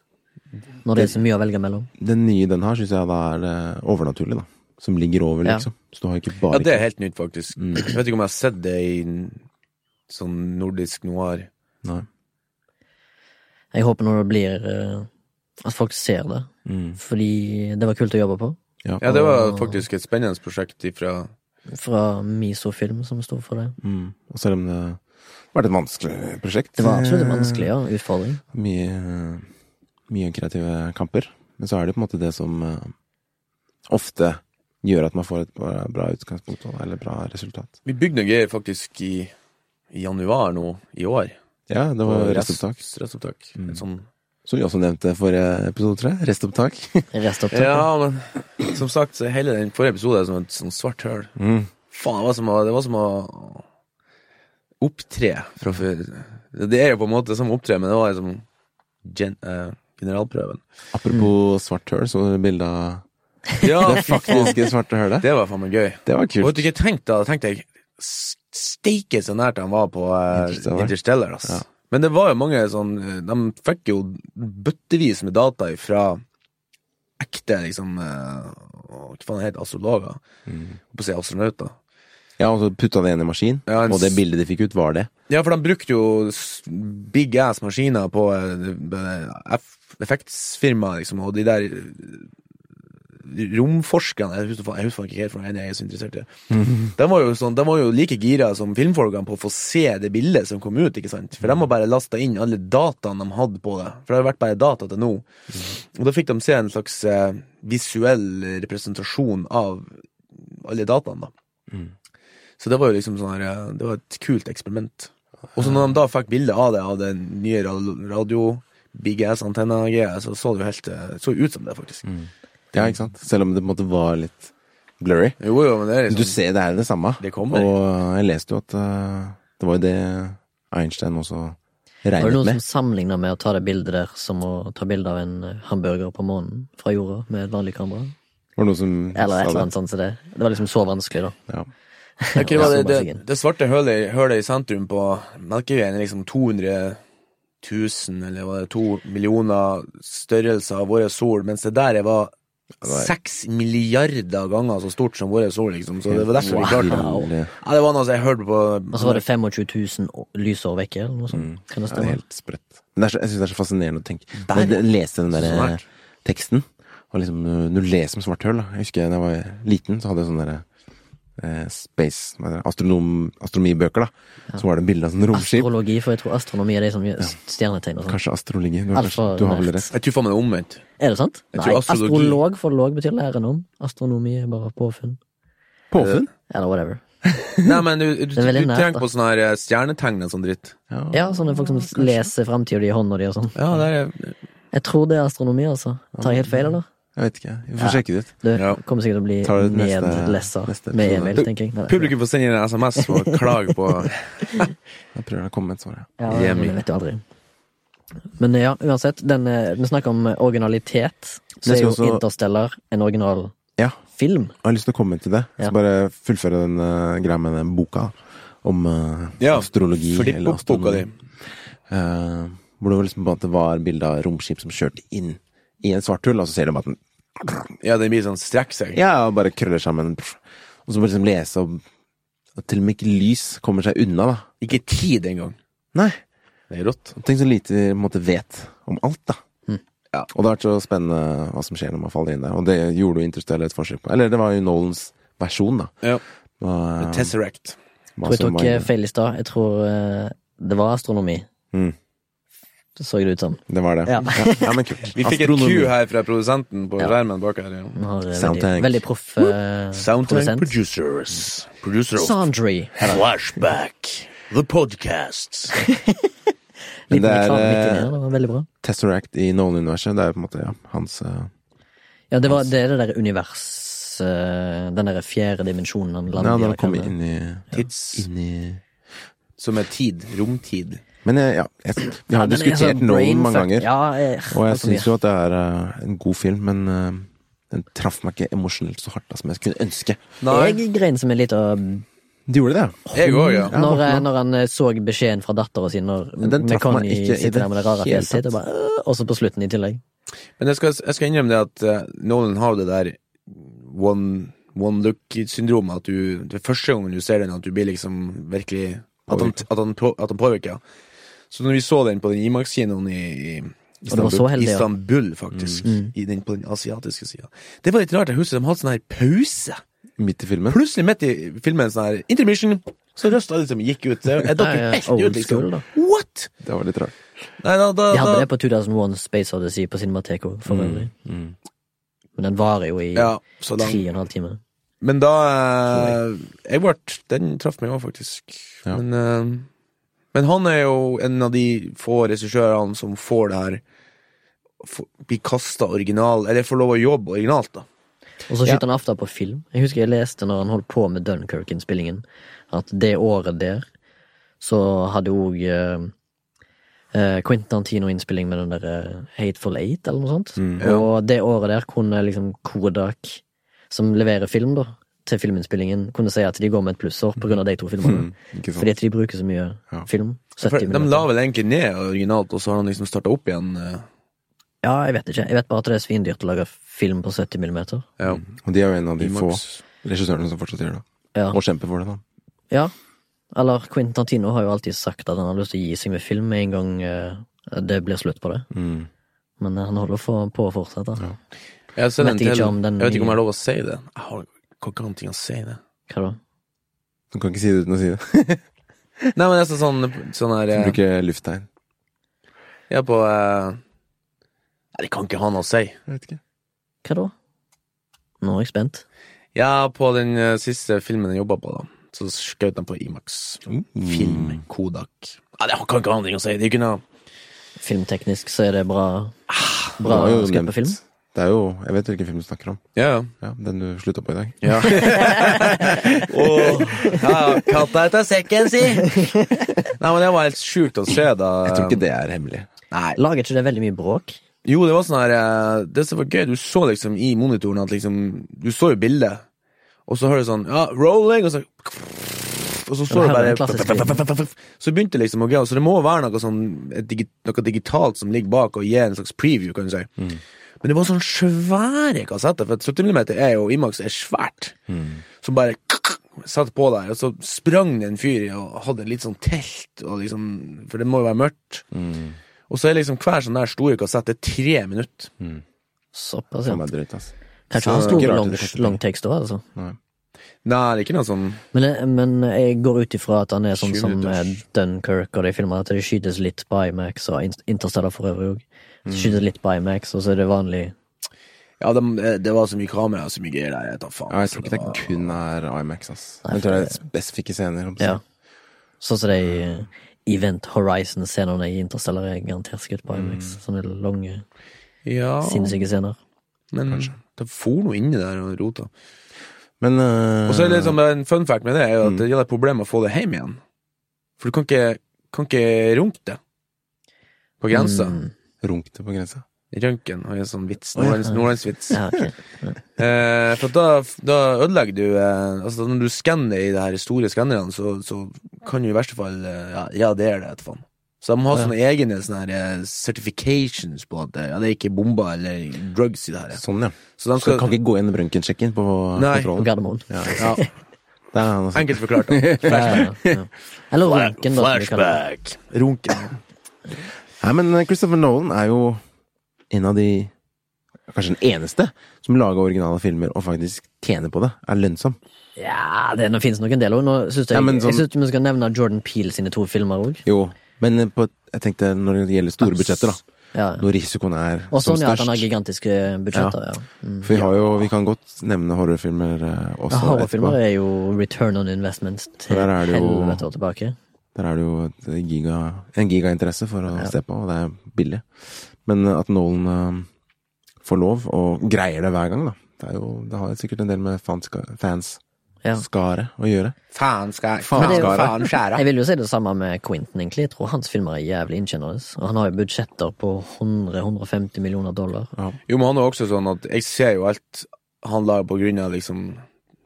Når det er så mye å velge mellom. Den nye den har, syns jeg da er det overnaturlig, da. Som ligger over, Ja. liksom. Så du har ikke Mm. bare Ja, det er helt nytt, faktisk. Jeg vet ikke om jeg har sett det i en sånn nordisk noir. Nei. Jeg håper når det blir eh, at folk ser det, Mm. fordi det var kult å jobbe på. Ja. Ja, det var faktisk et spennende prosjekt ifra Fra Misofilm, som sto for det. Mm. Og selv om det har vært et vanskelig prosjekt. Det var absolutt en eh, vanskelig ja, utfordring. mye, mye kreative kamper. Men så er det på en måte det som eh, ofte gjør at man får et bra, bra utgangspunkt og- eller bra resultat. Vi bygde noe greier faktisk i, i januar nå, i år. Ja, det var Og rest- restopptak. Restopptak. Et sånn Som vi også nevnte i forrige episode, tror jeg. Restopptak. Restopptaket. Ja, men som sagt, så hele den forrige episoden er som et sånn svart høl. Faen, det var som å, det var som å opptre fra før. Det er jo på en måte som å opptre, men det var liksom gen, eh, generalprøven. Apropos svart høl, så du bildet av Ja, det faktiske svarte hølet. det var faen meg gøy. Det var Og vet kult. du hva jeg tenkte da? Da Tenkte jeg s- Steike så nært han var på eh, Interstellar. Interstellar, ass. Ja. Men det var jo mange sånn eh, De fikk jo bøttevis med data fra ekte, liksom eh, Hva faen heter det? Astrologer? Mm. På å si astronauter. Ja, og så putta det inn i maskin, Ja, en og det s- bildet de fikk ut, var det. Ja, for de brukte jo s- big ass maskiner på eh, eff- effektsfirmaer, liksom, og de der eh, romforskerne Jeg husker faen- jeg husker faen ikke helt, for jeg er så interessert i det. De var jo, sånn, de var jo like gira som filmfolkene på å få se det bildet som kom ut, ikke sant? For de har bare lasta inn alle dataene de hadde på det, for det har vært bare data til nå. Og da fikk de se en slags eh, visuell representasjon av alle dataene, da. Så det var jo liksom sånn her, eh, det var et kult eksperiment. Og så når de da fikk bilde av det, av den nye ra- radio Big ass antenna greia, så så det jo helt eh, så ut som det, faktisk. Mm. Ja, ikke sant? Selv om det på en måte var litt blurry. Jo, jo, men det er Du liksom ser det er det samme. Det kommer. Og jeg leste jo at eh, det var jo det Einstein også Var det regnet noen med. som sammenligna med å ta det bildet der som å ta bilde av en eh, hamburger på månen fra jorda med et vanlig kamera? Var det noen som Eller et sa eller annet sånt som det. Det var liksom så vanskelig, da. det? Ja. Jeg tror det, Ja, var det, sommerfuglen. det, det svarte hølet, i- hølet i sentrum på Melkeveien er liksom 200 000, eller var det to millioner størrelser av vår sol, mens det der var var- seks milliarder ganger så stort som vår sol, liksom. Så det var derfor vi klarte det. Wow. Altså- Ja, det var noe som jeg hørte på Og så var det 25 000 å- lysår vekke, eller noe sånt. Kan Mm. det Det er stemme? helt sprøtt. Men det er så, jeg syns det er så fascinerende å tenke. Der. Når jeg leste den Så der eh, nært. teksten, og liksom, når du leser om svart høl da. Jeg husker da jeg var liten, så hadde jeg sånn derre eh, space, hva heter det, astronom, astronomibøker, da, så var det bilde av sånn romskip. Astrologi, for jeg tror astronomi er de som gjør stjernetegn og sånn. Kanskje astrologi. Du har, Alfa- kanskje, du har vel nerd. rett. Jeg tror faen meg det er omvendt. Er det sant? Jeg Nei, tror astrologi- astrolog for låg betyr læren om. Astronomi er bare påfunn. Påfunn? Eller whatever. Nei, men du, du, du, er veldig nært, tenker da. på sånne her eh, stjernetegn og sånn dritt. Ja, sånne folk som leser framtida di i hånda di og sånn. Ja, det er Jeg tror det er astronomi, altså. Tar jeg helt Mm. feil, eller? Jeg vet ikke. Vi får sjekke det ut. Du Ja. kommer sikkert til å bli Tar det neste- nedlesser neste med episode. Emil, tenker jeg. Nei, nei. Publikum får sende inn en SMS og klage på Jeg prøver å komme med et svar. Ja. Ja, Jemi. men jeg vet jo aldri. Men ja, uansett. Den, eh, vi snakker om originalitet. Så Jeg er skal jo også- Interstellar en original Ja. film. Jeg har lyst til å komme til det. Ja. Så bare fullføre den eh, greia med den boka om eh, Ja, astrologi. flipp eller opp boka astronomi. Eh, hvor det var liksom på en måte var bilde av romskip som kjørte inn i en svart hull, og så ser du bare at den Ja, den blir sånn strekk seg. ja, og bare krøller sammen. Og så bare liksom lese om at til og med ikke lys kommer seg unna, da. Ikke tid engang. Nei. Det er rått. Tenk så lite vi på en måte vet om alt, da. Mm. Ja. Og det har vært så spennende hva som skjer når man faller inn der. Og det gjorde jo Interstellar et forsøk på. Eller det var jo Nolans versjon, da. Ja. Hva- Tesseract. hva Jeg tror jeg som tok var- eh, feil i stad. Jeg tror eh, det var astronomi. Mm. Det så det ut som. Det var det. Ja. ja, ja, men kult. Vi fikk Astronomi. et Q her fra produsenten på Ja. skjermen bak her. Ja. Vi har eh, veldig, Soundtank. veldig proff eh, Soundtrack produsent. Sånn. producers. Producer of Sandry. Flashback. The podcasts. Men Liten det er reklame midt inni eh, her, det var veldig bra. Tesseract i Nolan-universet. Det er på en måte ja, hans eh, Ja, det, var, det er det der univers eh, Den derre fjerde dimensjonen han Ja, lander når han i, hva kaller kommer det? inn i, Tids inn i som er tid. Romtid. Men eh, ja, jeg, vi har Ja, den er diskutert sånn Nolan brain mange fuck. ganger. Ja, Sånn jeg, Og jeg altfor mye. syns jo at det er eh, en god film, men eh, den traff meg ikke emosjonelt så hardt da, som jeg kunne ønske. Nei, Jeg grein som en liten Du gjorde det? jeg òg, ja. Ja, når, Morten, når han eh, så beskjeden fra dattera si når den traff meg McConney ikke i det sitter der med det rare hele fjeset sitt, og bare øh, Også på slutten i tillegg. Men jeg skal, jeg skal innrømme det at eh, Nolan har jo det der one, one look-syndromet. At du Det er første gangen du ser den, at du blir liksom virkelig At han, at han, på- at han påvirker. Så når vi så den på den Imax-kinoen i, i Og det var så heldig, ja. Mm, Istanbul, faktisk. I den, på den asiatiske sida. Det var litt rart. Jeg husker de hadde sånn her pause. Midt i filmen? Plutselig midt i filmen sånn her intermission. Så røsta alle som gikk ut. Jeg datt jo Ja, ja, helt old ut, liksom. school, da. What?! Det var litt rart. Nei, da, da, De hadde da, det på 2001 Space Odyssey på Cinemateko for Mm. øvrig. Men den varer jo i ja, så da, tre og en halv time. Men da eh, Jeg ble Den traff meg òg, faktisk. Ja. Men, eh, men han er jo en av de få regissørene som får det her få- Blir kasta original Eller får lov å jobbe originalt, da. Og så skyter han aften på film. Jeg husker jeg leste når han holdt på med Dunkerque-innspillingen, at det året der så hadde òg eh, eh, Quentin Tarantino-innspilling med den der eh, Hateful Eight, eller noe sånt. Mm. Og det året der kunne liksom Kodak, som leverer film, da, til filminnspillingen, kunne si at de går med et plussår på grunn av de to filmene. Ikke sant? Fordi at de bruker så mye Mm. Ja. film. For de 70 minutter. la vel egentlig ned originalt, og så har han liksom starta opp igjen. eh, Ja, jeg vet ikke. Jeg vet bare at det er svindyrt å lage film på 70 millimeter. Ja. Og de er jo en av de få Imax. regissørene som fortsatt gjør det. Ja. Og kjemper for det, da. Ja. Eller Quentin Tarantino har jo alltid sagt at han har lyst til å gi seg med film med en gang eh, det blir slutt på det. Mm. Men eh, han holder for, på å fortsette. Jeg, har sett Vet en ikke til. om den jeg vet ikke om jeg nye- har lov å si det. Jeg har kan ikke annet ting å si det. Hva da? Du kan ikke si det uten å si det. Nei, men nesten sånn, sånn her eh, Bruke lufttegn. Jeg er på eh, Nei, det kan ikke ha noe å si. Jeg vet ikke. Hva da? Nå er jeg spent. Ja, på den eh, siste filmen jeg jobba på, da. Så skjøt de på Imax. Mm. Film Kodak. Nei, det kan ikke ha noe å si. Det er ikke noe Filmteknisk så er det bra Det Bra var jo skutt nevnt. på film. Det er jo Jeg vet hvilken film du snakker om. Ja, ja. Ja, Den du slutta på i dag. ja. Åh, ja, katta etter sekken, si! Nei, men det var helt sjukt å se, da. Jeg tror ikke det er hemmelig. Nei. Lager ikke det veldig mye bråk? Jo, det var sånn her eh, Det som var gøy, du så liksom i monitoren at liksom Du så jo bildet, og så hører du sånn Ja, rolling, og så Og så Ja, står her er det den klassiske. bare Så begynte det liksom å gå, så det må være noe sånn et digi, Noe digitalt som ligger bak og gir en slags preview, kan du si. Mm. Men det var sånn svære kassetter, for at 70 mm er jo Imax er svært. Mm. Som bare satt på der, og så sprang det en fyr i og hadde litt sånn telt, og liksom, for det må jo være mørkt. Mm. Og så er liksom hver sånn der store kassett Det er tre minutter. Såpass, ja. Som er drøyt, ass. Kanskje Så det han er ikke store rart long, det er kanskje- long takes da, altså. Nei. Nei, det er ikke noe sånn Men, jeg- men jeg går ut ifra at han er sånn Sju som minutters. eh, Dunkirk og de filmene, at det skytes litt på IMAX og In- Interstellar for øvrig òg. Skytes litt på IMAX, og så er det vanlig Ja, de, det var så mye kamera og så mye greier der. Jeg tar faen. Ja, jeg tror så ikke det var- kun er IMAX, ass. Nei, Jeg tror det er spesifikke scener. om å si. Ja. Sånn som de eh, Event Horizon-scenene i Interstellar er garantert skutt på IMAX. Sånne lange, Ja, sinnssyke scener. men det for noe inni der og rota. Mm. Men eh, Og så er det liksom en fun fact med det, Mm. er jo at det gjelder et problem å få det hjem igjen. For du kan ikke, kan ikke runke det. På grensa. Mm. Runk det på grensa. Røntgen har jo en sånn vits. Å, ja. Nordlands- Nordlandsvits. Ja, ok. Eh, for at da, da ødelegger du eh, Altså Når du skanner i de her store skannerne, så, så kan du i verste fall eh, ja, ja, det er det, et faen. Så de må ha Ja. sånne egne sånne her, eh, certifications på at eh, ja, det er ikke bomber eller drugs i det her. Sånn, ja. Så de Så du skal kan ikke gå inn røntgensjekken på Nei. På kontrollen? Gardermoen. Ja, ja, det er altså. noe sånt. Enkelt forklart. da. Ja, ja, ja. Eller Ranken, da. som vi kaller det. Flashback. Runken. Nei, men øh, Christopher Nolan er jo en av de Kanskje den eneste som lager originale filmer og faktisk tjener på det. Er lønnsom. Ja, det nå finnes nok en del òg. Nå syns jeg, Ja, men jeg sånn- synes vi skal nevne Jordan Peele sine to filmer òg. Jo, men øh, på, jeg tenkte når det gjelder store budsjetter, da. Ja. Når risikoen er Og som sånn ja, at han har størst. gigantiske budsjetter, ja. Mm. For vi har jo Vi kan godt nevne horrorfilmer eh, ja også. Horrorfilmer etterpå. er jo return on investment til Der er det jo- helvete og tilbake. Der er det jo et giga, en gigainteresse for å se på, og det er billig. Men at Nolan eh, får lov, og greier det hver gang, da. Det, er jo, det har jo sikkert en del med fanska- Ja. fans-skare å gjøre. Faen skal Men Faen det er jo- skal Faen skjæra. Jeg vil jo si det samme med Quentin, egentlig. Jeg tror hans filmer er jævlig inntjenende. Og han har jo budsjetter på 100-150 millioner dollar. Jo, men han er også sånn at jeg ser jo alt han lager på grunn av liksom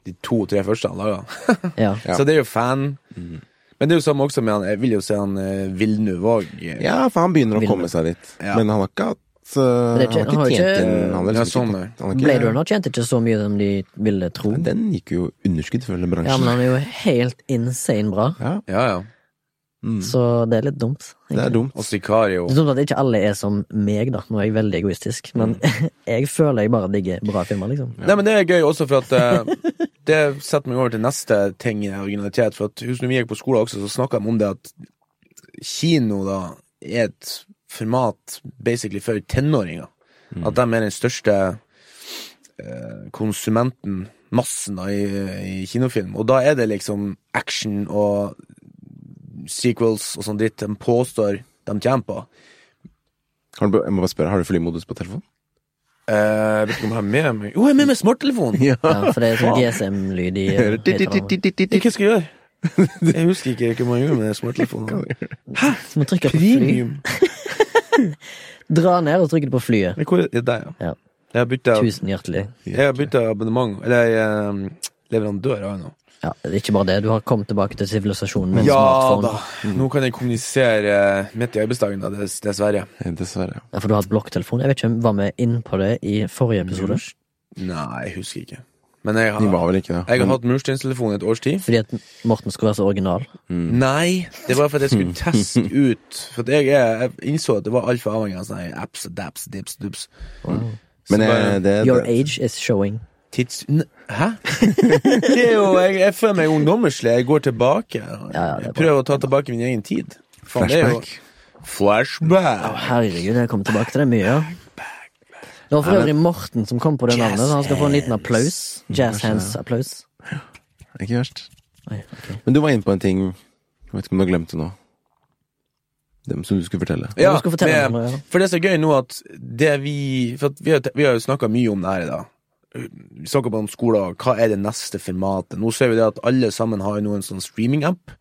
de to-tre første han lager. Ja. Ja. Mhm. Så det er jo fan. Men det er jo samme også med han Jeg vil jo se han eh, Villeneuve òg. Ja, for han begynner å Vil- komme seg dit. Ja. Men han har ikke hatt uh, det er ikke- Han har ikke tjent inn Han har Ja, liksom sånn, ikke nei. fått- han har ikke- Blade Runner tjente ikke så mye som de ville tro. Nei, Den gikk jo underskudd, føler bransjen. Ja, men han er jo helt insane bra, Ja, Ja, ja. mm. så det er litt dumt. Det er egentlig. dumt. Og Sicario. Det er dumt at ikke alle er som meg, da. Nå er jeg veldig egoistisk, men jeg føler jeg bare digger bra filmer, liksom. Nei, men det er gøy også, for at eh, det setter meg over til neste ting i originalitet. For at husker du vi gikk på skolen også, så snakka de om det at kino da er et format basically for tenåringer. At de er den største eh, konsumenten, massen, da, i, i kinofilm. Og da er det liksom action og sequels og sånn dritt de påstår de tjener på. Har du, jeg må bare spørre, har du flymodus på telefonen? Eh, jeg vet ikke om jeg har med meg Jo, jeg har med meg smarttelefonen! Ja, for det er sånn GSM-lyd i eh, høyttalerne. Hva skal jeg gjøre? Jeg husker ikke hva man gjør med smarttelefonen. Så må trykke på fly. Premium! Dra ned og trykke på flyet. Men hvor er det der, Ja. ja? Jeg har bytta- Tusen hjertelig. jeg har bytta abonnement, eller eh, leverandør har jeg nå. Ja, det er ikke bare det. Du har kommet tilbake til sivilisasjonen med en Ja da! smartphone. Mm. Nå kan jeg kommunisere eh, midt i arbeidsdagen, da, dess- dessverre. Eh, Dessverre. Ja, for du har et blokktelefon. Jeg vet ikke om var vi inne på det i forrige episode. Nei, jeg husker ikke. Men De jeg har, var vel ikke det. jeg har Men- hatt mursteinstelefon i et års tid. Fordi at Morten skulle være så original. Nei, det var for at jeg skulle teste ut For at jeg, er- jeg innså at det var altfor avhengig av sånne her apps og daps, dips, dups. Men Så jeg, bare- det, Your det, age is showing. Tids... N Hæ? Det er jo, jeg, jeg føler meg ungdommerslig. Jeg går tilbake. ja, det er jeg prøver å ta tilbake min egen tid. Faen, det er jo- Flashback. Flashback. Herregud, jeg kommer tilbake til det mye. ja. Det var for øvrig Morten som kom på det navnet, så han skal få en liten applaus. Jazz hands-applaus. Ikke verst. Oi, ok. Men du var inne på en ting Jeg vet ikke om du har glemt det nå. Det som du skulle fortelle. Ja, du skal fortelle om det, ja. For det er så gøy nå at det vi For at vi, har, vi har jo snakka mye om det her i dag. Vi snakka om skoler, og hva er det neste formatet? Nå ser vi det at alle sammen har jo nå en sånn streaming-app.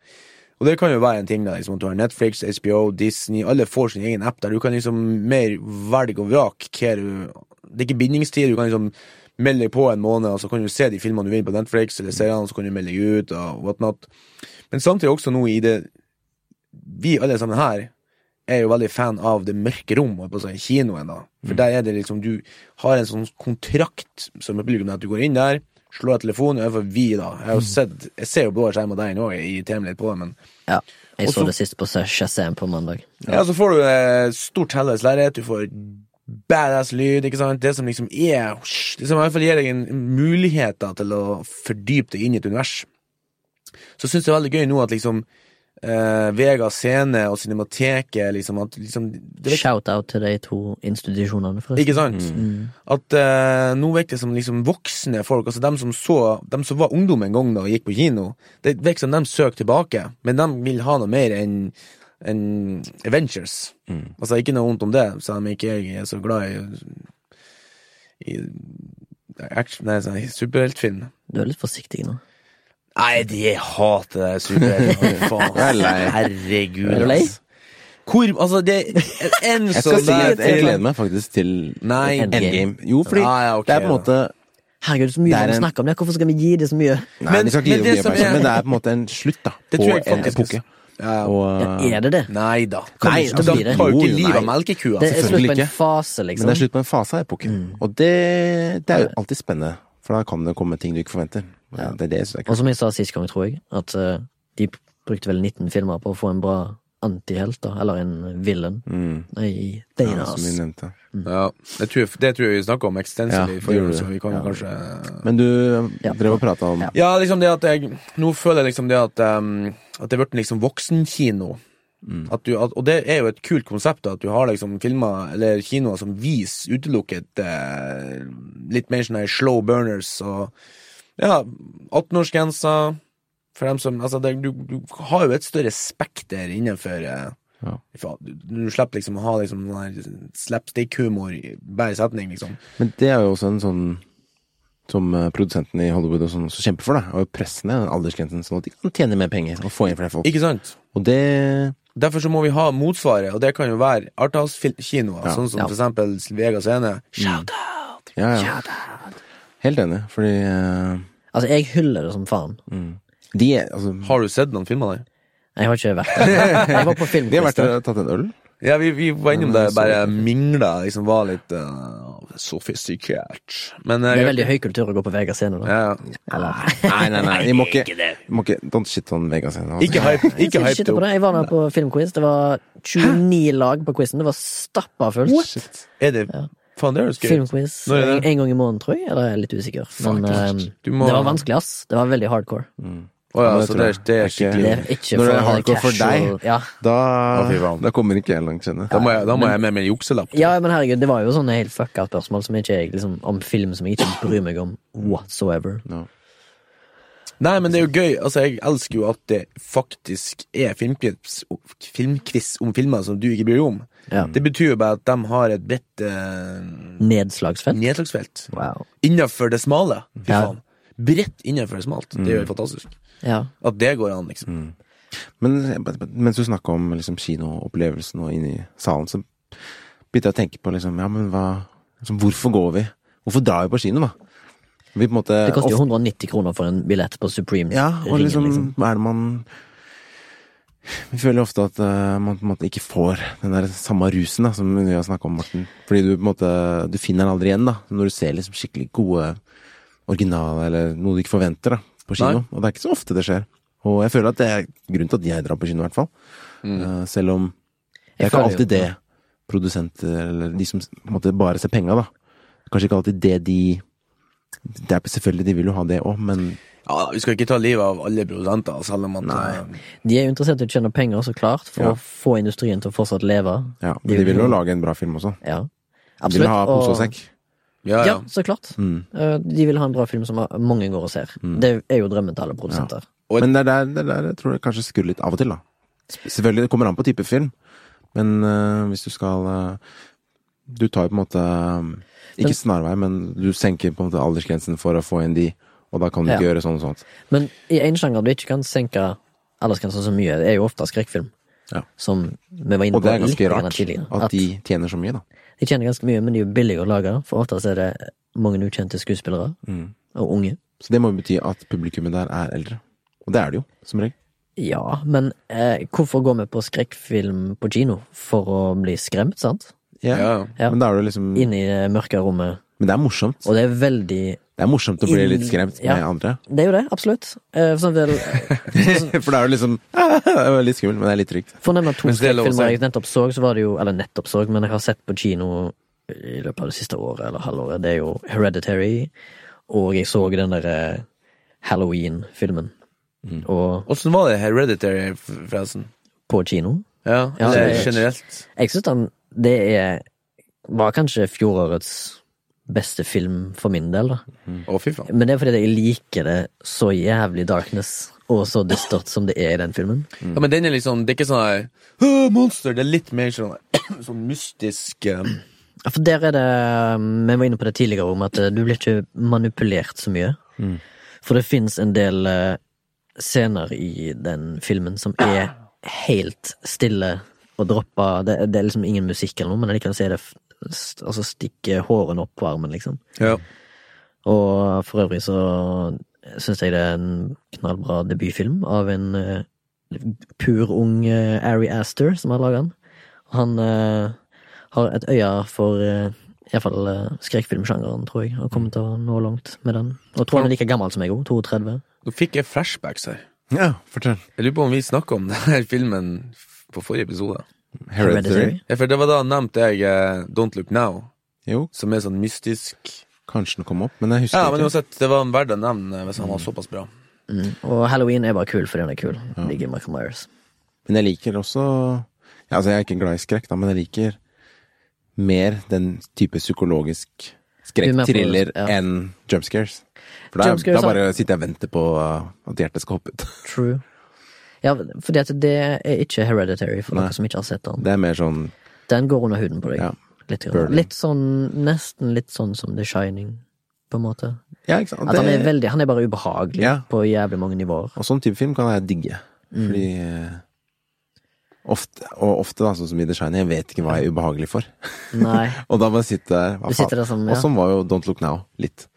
Og det kan jo være en ting, da. Liksom, at du har Netflix, HBO, Disney. Alle får sin egen app der. Du kan liksom mer velge og vrake hva du Det er ikke bindingstid. Du kan liksom melde deg på en måned, og så kan du se de filmene du vil på Netflix, Mm. eller seriene, så kan du melde deg ut, og whatnot. Men samtidig også nå i det Vi alle sammen her er jo veldig fan av det mørke rom, holdt på å si, kinoen, da. For der er det liksom Du har en sånn kontrakt som er publikum, at du går inn der, slår av telefonen, i hvert fall vi, da. Jeg har jo sett Jeg ser jo blå skjerm av deg nå, jeg irriterer meg litt på det, men Ja, jeg Og så så- det sist på Shazam på mandag. Ja, så får du eh, stort helles lerret, du får badass lyd, ikke sant? Det som liksom er Det som i hvert fall gir deg en mulighet da, til å fordype deg inn i et univers. Så syns jeg det er veldig gøy nå at liksom eh, Vega scene og Cinemateket liksom at liksom det virker, Shout-out til de to institusjonene, forresten. Ikke sant? Mm. At eh, nå virker det som liksom voksne folk, altså dem som så Dem som var ungdom en gang da og gikk på kino, det virker som dem søker tilbake, men de vil ha noe mer enn enn Adventures. Altså, ikke noe vondt om det, selv om ikke jeg er så glad i, i action, nei, sånn, i superheltfilm. Du er litt forsiktig nå. Nei, de hater superheltfilm. Jeg er lei. Herregud, Er du lei? ass. Hvor Altså, det er en Jeg sånn skal si at jeg der- gleder meg faktisk til Nei. Endgame. Jo, fordi Ah, ja, ok, det er på en da. måte Herregud, så mye Det er man en- snakker om det. Hvorfor skal vi gi det så mye? Nei, Men- vi skal ikke men gi det det mye som oppmerksomhet, er- men det er på en måte en slutt da Det på tror jeg en faktisk- epoke. Ja. Og, eh, Ja, er det det? Nei da. Kommer Nei, ikke De til å bli da- det. tar jo ikke Jo, livet av nei. melkekua. Det er selvfølgelig slutt på en ikke. fase, men det er liksom. slutt på en fase av epoken. Mm. Og det, det er jo alltid spennende, for da kan det komme ting du ikke forventer. Og Det, det er det jeg synes er Og kult. som jeg sa sist gang, tror jeg, at eh, de brukte vel 19 filmer på å få en bra antihelt, da. Eller en villain. Mm. I Ja, som vi Danas. nevnte. Ja, det tror, jeg- det tror jeg vi snakka om extensively Ja, det forrige gjorde gang, så du. vi kan Ja. kanskje Men du eh, Ja. drev og prata om Ja. Ja, liksom det at jeg Nå føler jeg liksom det at ehm, At det er blitt liksom voksenkino. At du, at, og det er jo et kult konsept, at du har liksom filmer eller kinoer som viser utelukket eh, litt mer sånne slow burners og Ja, 18-årsgrensa for dem som Altså, det, du, du har jo et større spekter innenfor eh, Ja. ifra- Du, du slipper liksom å ha liksom sånn her slapstick-humor i hver setning, liksom. Men det er jo også en sånn som eh, produsentene i Hollywood og sånn også kjemper for, da. Og presse ned den aldersgrensen, sånn at de kan tjene mer penger og få inn flere folk. Ikke sant? Og det Derfor så må vi ha motsvaret, og det kan jo være arthouse-kinoer, Ja. sånn som Ja. for eksempel Vega Scene. Mm. Ja, ja. Helt enig, fordi eh, Altså, jeg hyller det som faen. Mm. de er altså Har du sett noen filmer der? Jeg har ikke vært der. Jeg De var på har vært filmkvist. der og tatt en øl? Ja, vi, vi var innom Nei, det, så- bare mingla, liksom var litt uh, sofistikert. Men eh, Det er veldig høy kultur å gå på Vega scene, da. ja. Nei, nei, nei. Vi må ikke, Ikke det. vi må ikke Don't shit on Vegas altså. ennå. Ikke hype, Jeg ikke skal hype ikke det på opp. det. Jeg var der på filmquiz. Det var 29 lag på quizen. Det var stappa fullt. Shit. Er det Faen, det høres gøy ut. Filmquiz Når er det? en, en gang i måneden, tror jeg. Eller jeg er litt usikker. Men eh, Du må- det var vanskelig, ass. Det var veldig hardcore. Å ja, Ja, det så tror altså, jeg. det, er- det er Det er ikke- skikkelig Det er ikke Når det for er hardcore for casual- Ja. Da, Å, fy faen. da kommer ikke jeg langt, kjenner Da jeg. må jeg, da må jeg med meg en jukselapp. ja, men herregud, det var jo sånne helt fucka spørsmål som ikke jeg, liksom, om film som jeg ikke bryr meg om whatsoever. No. Nei, men det er jo gøy. Altså, jeg elsker jo at det faktisk er filmquiz, filmquiz om filmer som du ikke bryr deg om. Ja. Det betyr jo bare at de har et bredt eh, Nedslagsfelt. nedslagsfelt. Wow. Innenfor det smale. Fy Ja. faen. Mm. Bredt innenfor det smalt. Det er jo fantastisk. Ja. At det går an, liksom. Mm. Men eh, mens du snakka om liksom, kinoopplevelsen og inne i salen, så begynte jeg å tenke på liksom, ja, men hva, liksom, hvorfor går vi? Hvorfor drar vi på kino, da? Vi på en måte Det koster jo 190 kroner for en billett på Supreme. Ja, og Ringen, liksom, hva er det man Vi føler ofte at eh, man på en måte ikke får den der samme rusen da, som vi har snakka om, Morten. Fordi du på en måte Du finner den aldri igjen, da. Når du ser liksom skikkelig gode originale, eller noe du ikke forventer, da, på kino. Nei. Og det er ikke så ofte det skjer. Og jeg føler at det er grunnen til at jeg drar på kino, i hvert fall. Eh, selv om det Mm. er Jeg ikke føler jo- alltid det produsenter, eller de som på en måte bare ser penga, da. Kanskje ikke alltid det de det er Selvfølgelig de vil jo ha det òg, men Ja, vi skal ikke ta livet av alle produsenter, selv om at eh, De er jo interessert i å tjene penger, så klart, for Ja. å få industrien til å fortsatt leve. Ja, men de vil jo lage en bra film også. Ja. De vil ha og- pose og sekk. Ja, ja. Ja, så klart. Mm. Eh, De vil ha en bra film som mange går og ser. Det er jo drømmen til alle produsenter. Og- Men det er der, det er der jeg tror det kanskje skurrer litt av og til, da. Sp- Selvfølgelig, det kommer an på type film, men øh, hvis du skal øh, Du tar jo på en måte øh, Ikke Men- snarvei, men du senker på en måte aldersgrensen for å få inn de, og da kan du ikke Ja. gjøre sånn og sånt. Men i en sjanger du ikke kan senke aldersgrensen så mye, det er jo ofte skrekkfilm. Ja. Som vi var inne Og på det er ganske litt grann rart tidligere. at de tjener så mye, da. de tjener ganske mye, men de er jo billige å lage. For oftest er det mange ukjente skuespillere, Mm. og unge. Så det må jo bety at publikummet der er eldre. Og det er det jo, som regel. Ja, men eh, hvorfor går vi på skrekkfilm på kino? For å bli skremt, sant? Ja. ja. Ja. Men da er det jo liksom Inn i det mørke rommet. Men det er morsomt. Og det er veldig Det er morsomt å bli litt skremt Ja. med andre. Det er jo det, absolutt. Eh, sånn vel, For det er jo liksom Det er litt skummelt, men det er litt trygt. for å nevne to Hvis det er lov å skrekkfilmer si. jeg nettopp så, så var det jo Eller nettopp så, men jeg har sett på kino i løpet av det siste året eller halvåret, det er jo Hereditary, og jeg så den der eh, Halloween-filmen. Og Åssen var det hereditary, forresten? på kino. Ja, Ja, eller det- generelt? Jeg synes den det er var kanskje fjorårets beste film for min del, da. Å, fy faen. Men det er fordi jeg liker det så jævlig darkness og så dystert som det er i den filmen. Ja, men den er liksom, det er ikke sånn her, «Åh, monster, det er litt mer sånn, sånn mystisk eh, Ja, For der er det um, Vi var inne på det tidligere om at eh, du blir ikke manipulert så mye. For det fins en del eh, scener i den filmen som er helt stille og droppa. Det, det er liksom ingen musikk eller noe, men likevel så er det f- st- Altså stikke hårene opp på armen, liksom. Ja. Og for øvrig så syns jeg det er en knallbra debutfilm av en eh, pur ung eh, Ari Aster som har laga den. Han eh, har et øye for uh, iallfall uh, skrekkfilmsjangeren, tror jeg, og kommer til å nå langt med den. Og tror han er like gammel som meg òg, 32. Nå fikk jeg flashbacks her. Ja, fortell. Jeg lurer på om vi snakket om denne filmen f- på forrige episode. Hereditary? Ja, for det var da nevnte jeg eh, Don't Look Now, Jo, som er sånn mystisk. kanskje den kom opp, men jeg husker Ja, men ikke. uansett, det var verdt å nevne hvis han var såpass bra. Mm. Og Halloween er bare kul fordi han er kul. Ligger Michael Myers. Men jeg liker også ja, Altså, jeg er ikke glad i skrekk, da, men jeg liker mer den type psykologisk Du mener på- skrekk-thriller ja. enn jump scares. For da, Jump scares, da bare sitter jeg og venter på uh, at hjertet skal hoppe ut. True. Ja, fordi at det er ikke hereditary, for Nei. dere som ikke har sett den. Det er mer sånn Den går under huden på deg. Ja. Litt, grann. Burning. litt sånn Nesten litt sånn som The Shining, på en måte. Ja, ikke sant. At han, er Det, veldig, han er bare ubehagelig Ja. på jævlig mange nivåer. og sånn type film kan jeg digge. Mm. Fordi uh, ofte, Og ofte, da, sånn som i The Shining, jeg vet ikke hva jeg er ubehagelig for. Nei, Og da bare sitter jeg hva Du sitter der som, ja. Og sånn var jo Don't Look Now litt.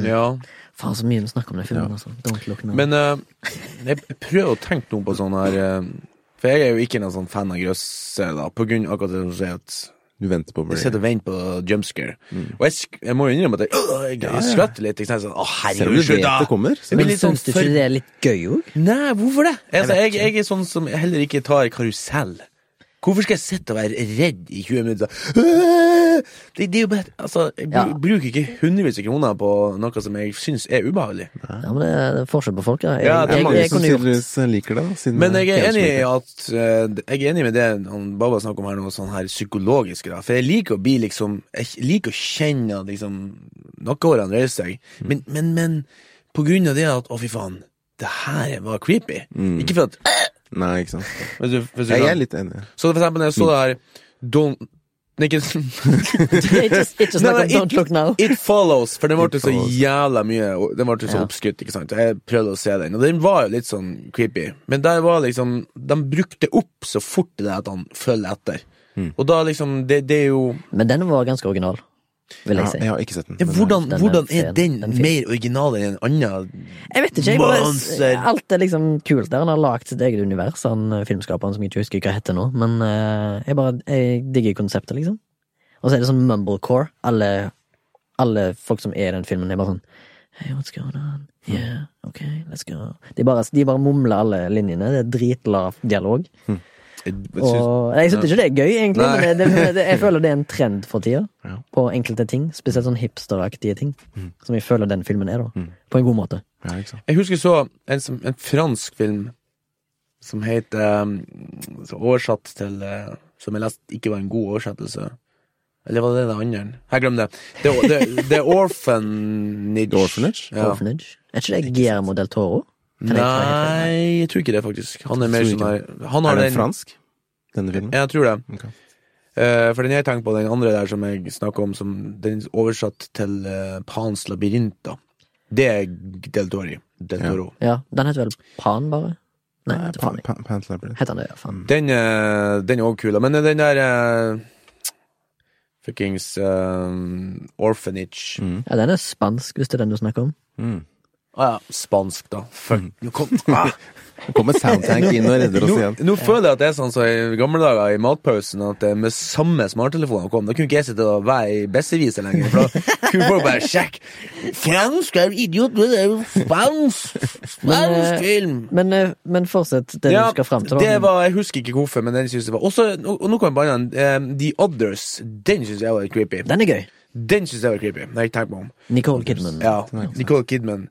Ja. faen så mye vi snakker om den filmen, altså. Don't look now. Men eh, jeg prøver å tenke noe på sånn her eh, For jeg er jo ikke noen sånn fan av grøssere, da, på grunn av akkurat det som sier at Du venter på å jeg bli sitter og venter på jumpscare. Og jeg, sk- jeg må jo innrømme at jeg, øh, jeg, jeg skvetter litt. Ikke sant? Sånn, å, Selv om herregud, du slutt, vet da! det kommer. Jeg Så blir men litt sånn syns du ikke for- det er litt gøy òg? Nei, hvorfor det? Altså, vet jeg, jeg er sånn som heller ikke tar karusell. Hvorfor skal jeg sitte og være redd i 20 minutter? Øh, Det, det er jo bare, altså, Jeg bru- Ja. bruker ikke hundrevis av kroner på noe som jeg syns er ubehagelig. Ja, men det er forskjell på folk, da. Jeg, Ja, Det er jeg, mange jeg, som kunne gjort tydeligvis eh, liker det, da. Siden Men jeg er Kjell enig i Smith- at eh, Jeg er enig med det han Baba snakker om her nå, sånn her psykologisk, da. For jeg liker å bli liksom Jeg liker å kjenne at liksom nakkehårene reiser seg, men, men, men på grunn av det at Å, fy faen, det her var creepy. Ikke for at Nei, ikke sant. hvis du, hvis du Jeg er skjønner. litt enig. Så for eksempel, når jeg så det her Don't Nei, ikke ikke, ikke snakk om Nei, Don't look now. It Follows, for den ble It så Follows. jævla mye og Den ble så Ja. oppskrytt, ikke sant. Jeg prøvde å se den, og den var jo litt sånn creepy. Men der var liksom De brukte opp så fort det der at han følger etter. Og da liksom Det, det er jo Men den var ganske original, vil Ja, jeg si. jeg har ikke sett den. ja, men, hvordan, den er hvordan er fin, den den er fin. mer original enn en annen? Jeg vet ikke, jeg bare, Monster. Alt er liksom kult der. Han har lagd sitt eget univers, han eh, filmskaperen som jeg ikke husker hva heter nå. Men eh, jeg bare jeg digger konseptet, liksom. Og så er det sånn mumblecore. Alle, alle folk som er i den filmen, er bare sånn Hey, what's going on? Yeah, ok, let's go. De bare, de bare mumler alle linjene. Det er dritlav dialog. eh, Og jeg syns ikke det er gøy, egentlig, Nei. men det, det, det, jeg føler det er en trend for tida. Ja. På enkelte ting. Spesielt sånn hipsteraktige ting. Mm. Som jeg føler den filmen er, da. På en god måte. Ja, ikke sant. Jeg husker så en, som, en fransk film som heter um, så Oversatt til eh, Som jeg leste ikke var en god oversettelse. Eller var det det andre? Jeg glemmer det. The, the, the Orphanage. The Orphanage? Ja. Orphanage. Er ikke det Guillermo del Toro? Kan jeg ta helt feil? Nei, jeg tror ikke det, faktisk. Han er mer Tror sånn ikke her Han har Er den den fransk, denne filmen? Ja, jeg tror det. Ok. Eh, for den jeg tenker på, den andre der som jeg snakker om, som den er oversatt til eh, Pans labyrint, da. Det er Del Toro. Del Ja. Toro. Ja, den heter vel Pan, bare? Nei, Nei, vet du Pa- faen jeg. Pa- Pant Labyrinth. heter han det, ja, faen. Den, eh, den er òg kul, da. men den der eh, Fuckings eh, Orphanage Mm. Ja, den er spansk, hvis det er den du snakker om. Mm. Ah, ja. Spansk, da. Fuck. Nå kom, ah. Nå kommer Soundtank inn og redder oss nå, igjen. nå føler jeg at det er sånn som i gamle dager i matpausen, at det med samme smarttelefoner kom. Da kunne ikke jeg sitte og være i besserviser lenger, for da kunne folk bare sjekke. Fransk er idiot, det er jo spansk! Men, eh, Spansk film! Men, eh, men fortsett det Ja, du skal frem til. da. det var, jeg husker ikke hvorfor, men den synes jeg var Også, nå- Og nå kom jeg på en annen. eh, The Others. Den synes jeg var litt creepy. Den er gøy. Den synes jeg var creepy. Når jeg tenker meg om. Nicole Kidman. Ja, Nicole Kidman.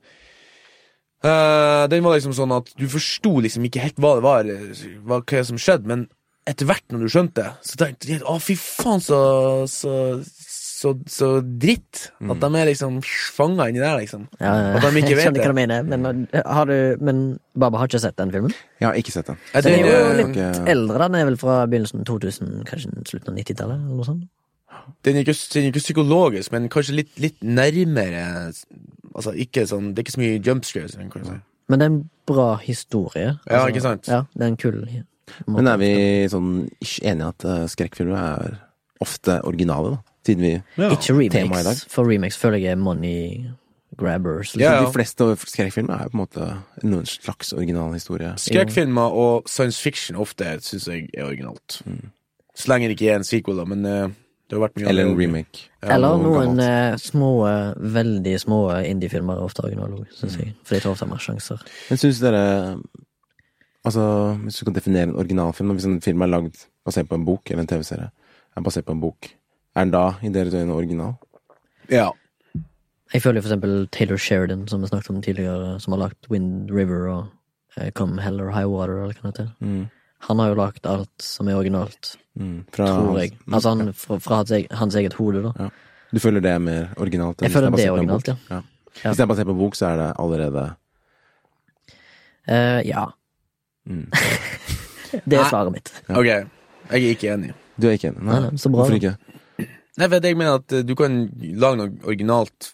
Eh, den var liksom sånn at du forsto liksom ikke helt hva det var, hva, hva som skjedde, men etter hvert når du skjønte, så tenkte jeg å fy faen, så, så, så, så dritt. At de er liksom fanga inni der, liksom. Mm. Ja, ja, ja. At de ikke jeg vet skjønner hva det. du mener, men, eh, har du, men Baba har ikke sett den filmen? Jeg har ikke sett den. Jeg Den er tror, jo eh, litt ok. eldre, den er vel fra begynnelsen 2000, kanskje slutten av 90-tallet? eller noe sånt. Den er ikke, den er ikke psykologisk, men kanskje litt, litt nærmere Altså, ikke sånn, Det er ikke så mye jump scares. sånn. Kan du si. Men det er en bra historie. Ja, ikke sant? Ja, det er en kul måte. Men er vi sånn ish enige at eh, skrekkfilmer er ofte originale, da? Siden vi Ikke Tema i dag. remakes, for remakes føler jeg er money grabbers. Ja, Liksom. De fleste skrekkfilmer er jo på en måte noen slags original historie. Skrekkfilmer og science fiction ofte syns jeg er originalt. Så lenge det ikke er en sequel, da, men eh, det har vært mye Mm. Eller en annet. remake. Eller noe noen gammelt. eh, små, veldig små indiefilmer er ofte originale òg, syns jeg. For de tar ofte mer sjanser. Men syns dere Altså, hvis du kan definere en originalfilm da, Hvis en film er lagd basert på en bok, eller en TV-serie, er basert på en bok, er den da i deres øyne original? Ja. Jeg føler jo for eksempel Taylor Sheridan, som vi snakket om tidligere, som har lagt Wind River og eh, Come Hell or High Water, eller hva det heter. Mm. Han har jo lagt alt som er originalt, Mm. Fra tror hans- jeg. Mm. Altså han, fra, fra hans, eget, hans eget hode, da. Ja. Du føler det er mer originalt? enn Jeg hvis føler det basert er på en originalt, bok? ja. Ja. Hvis det er basert på en bok, så er det allerede Eh, ja. Mm. Det er svaret mitt. Ja. Ok, jeg er ikke enig. Du er ikke enig? Nei, nei, så bra, Hvorfor da. ikke? Nei, for jeg mener at eh, du kan lage noe originalt,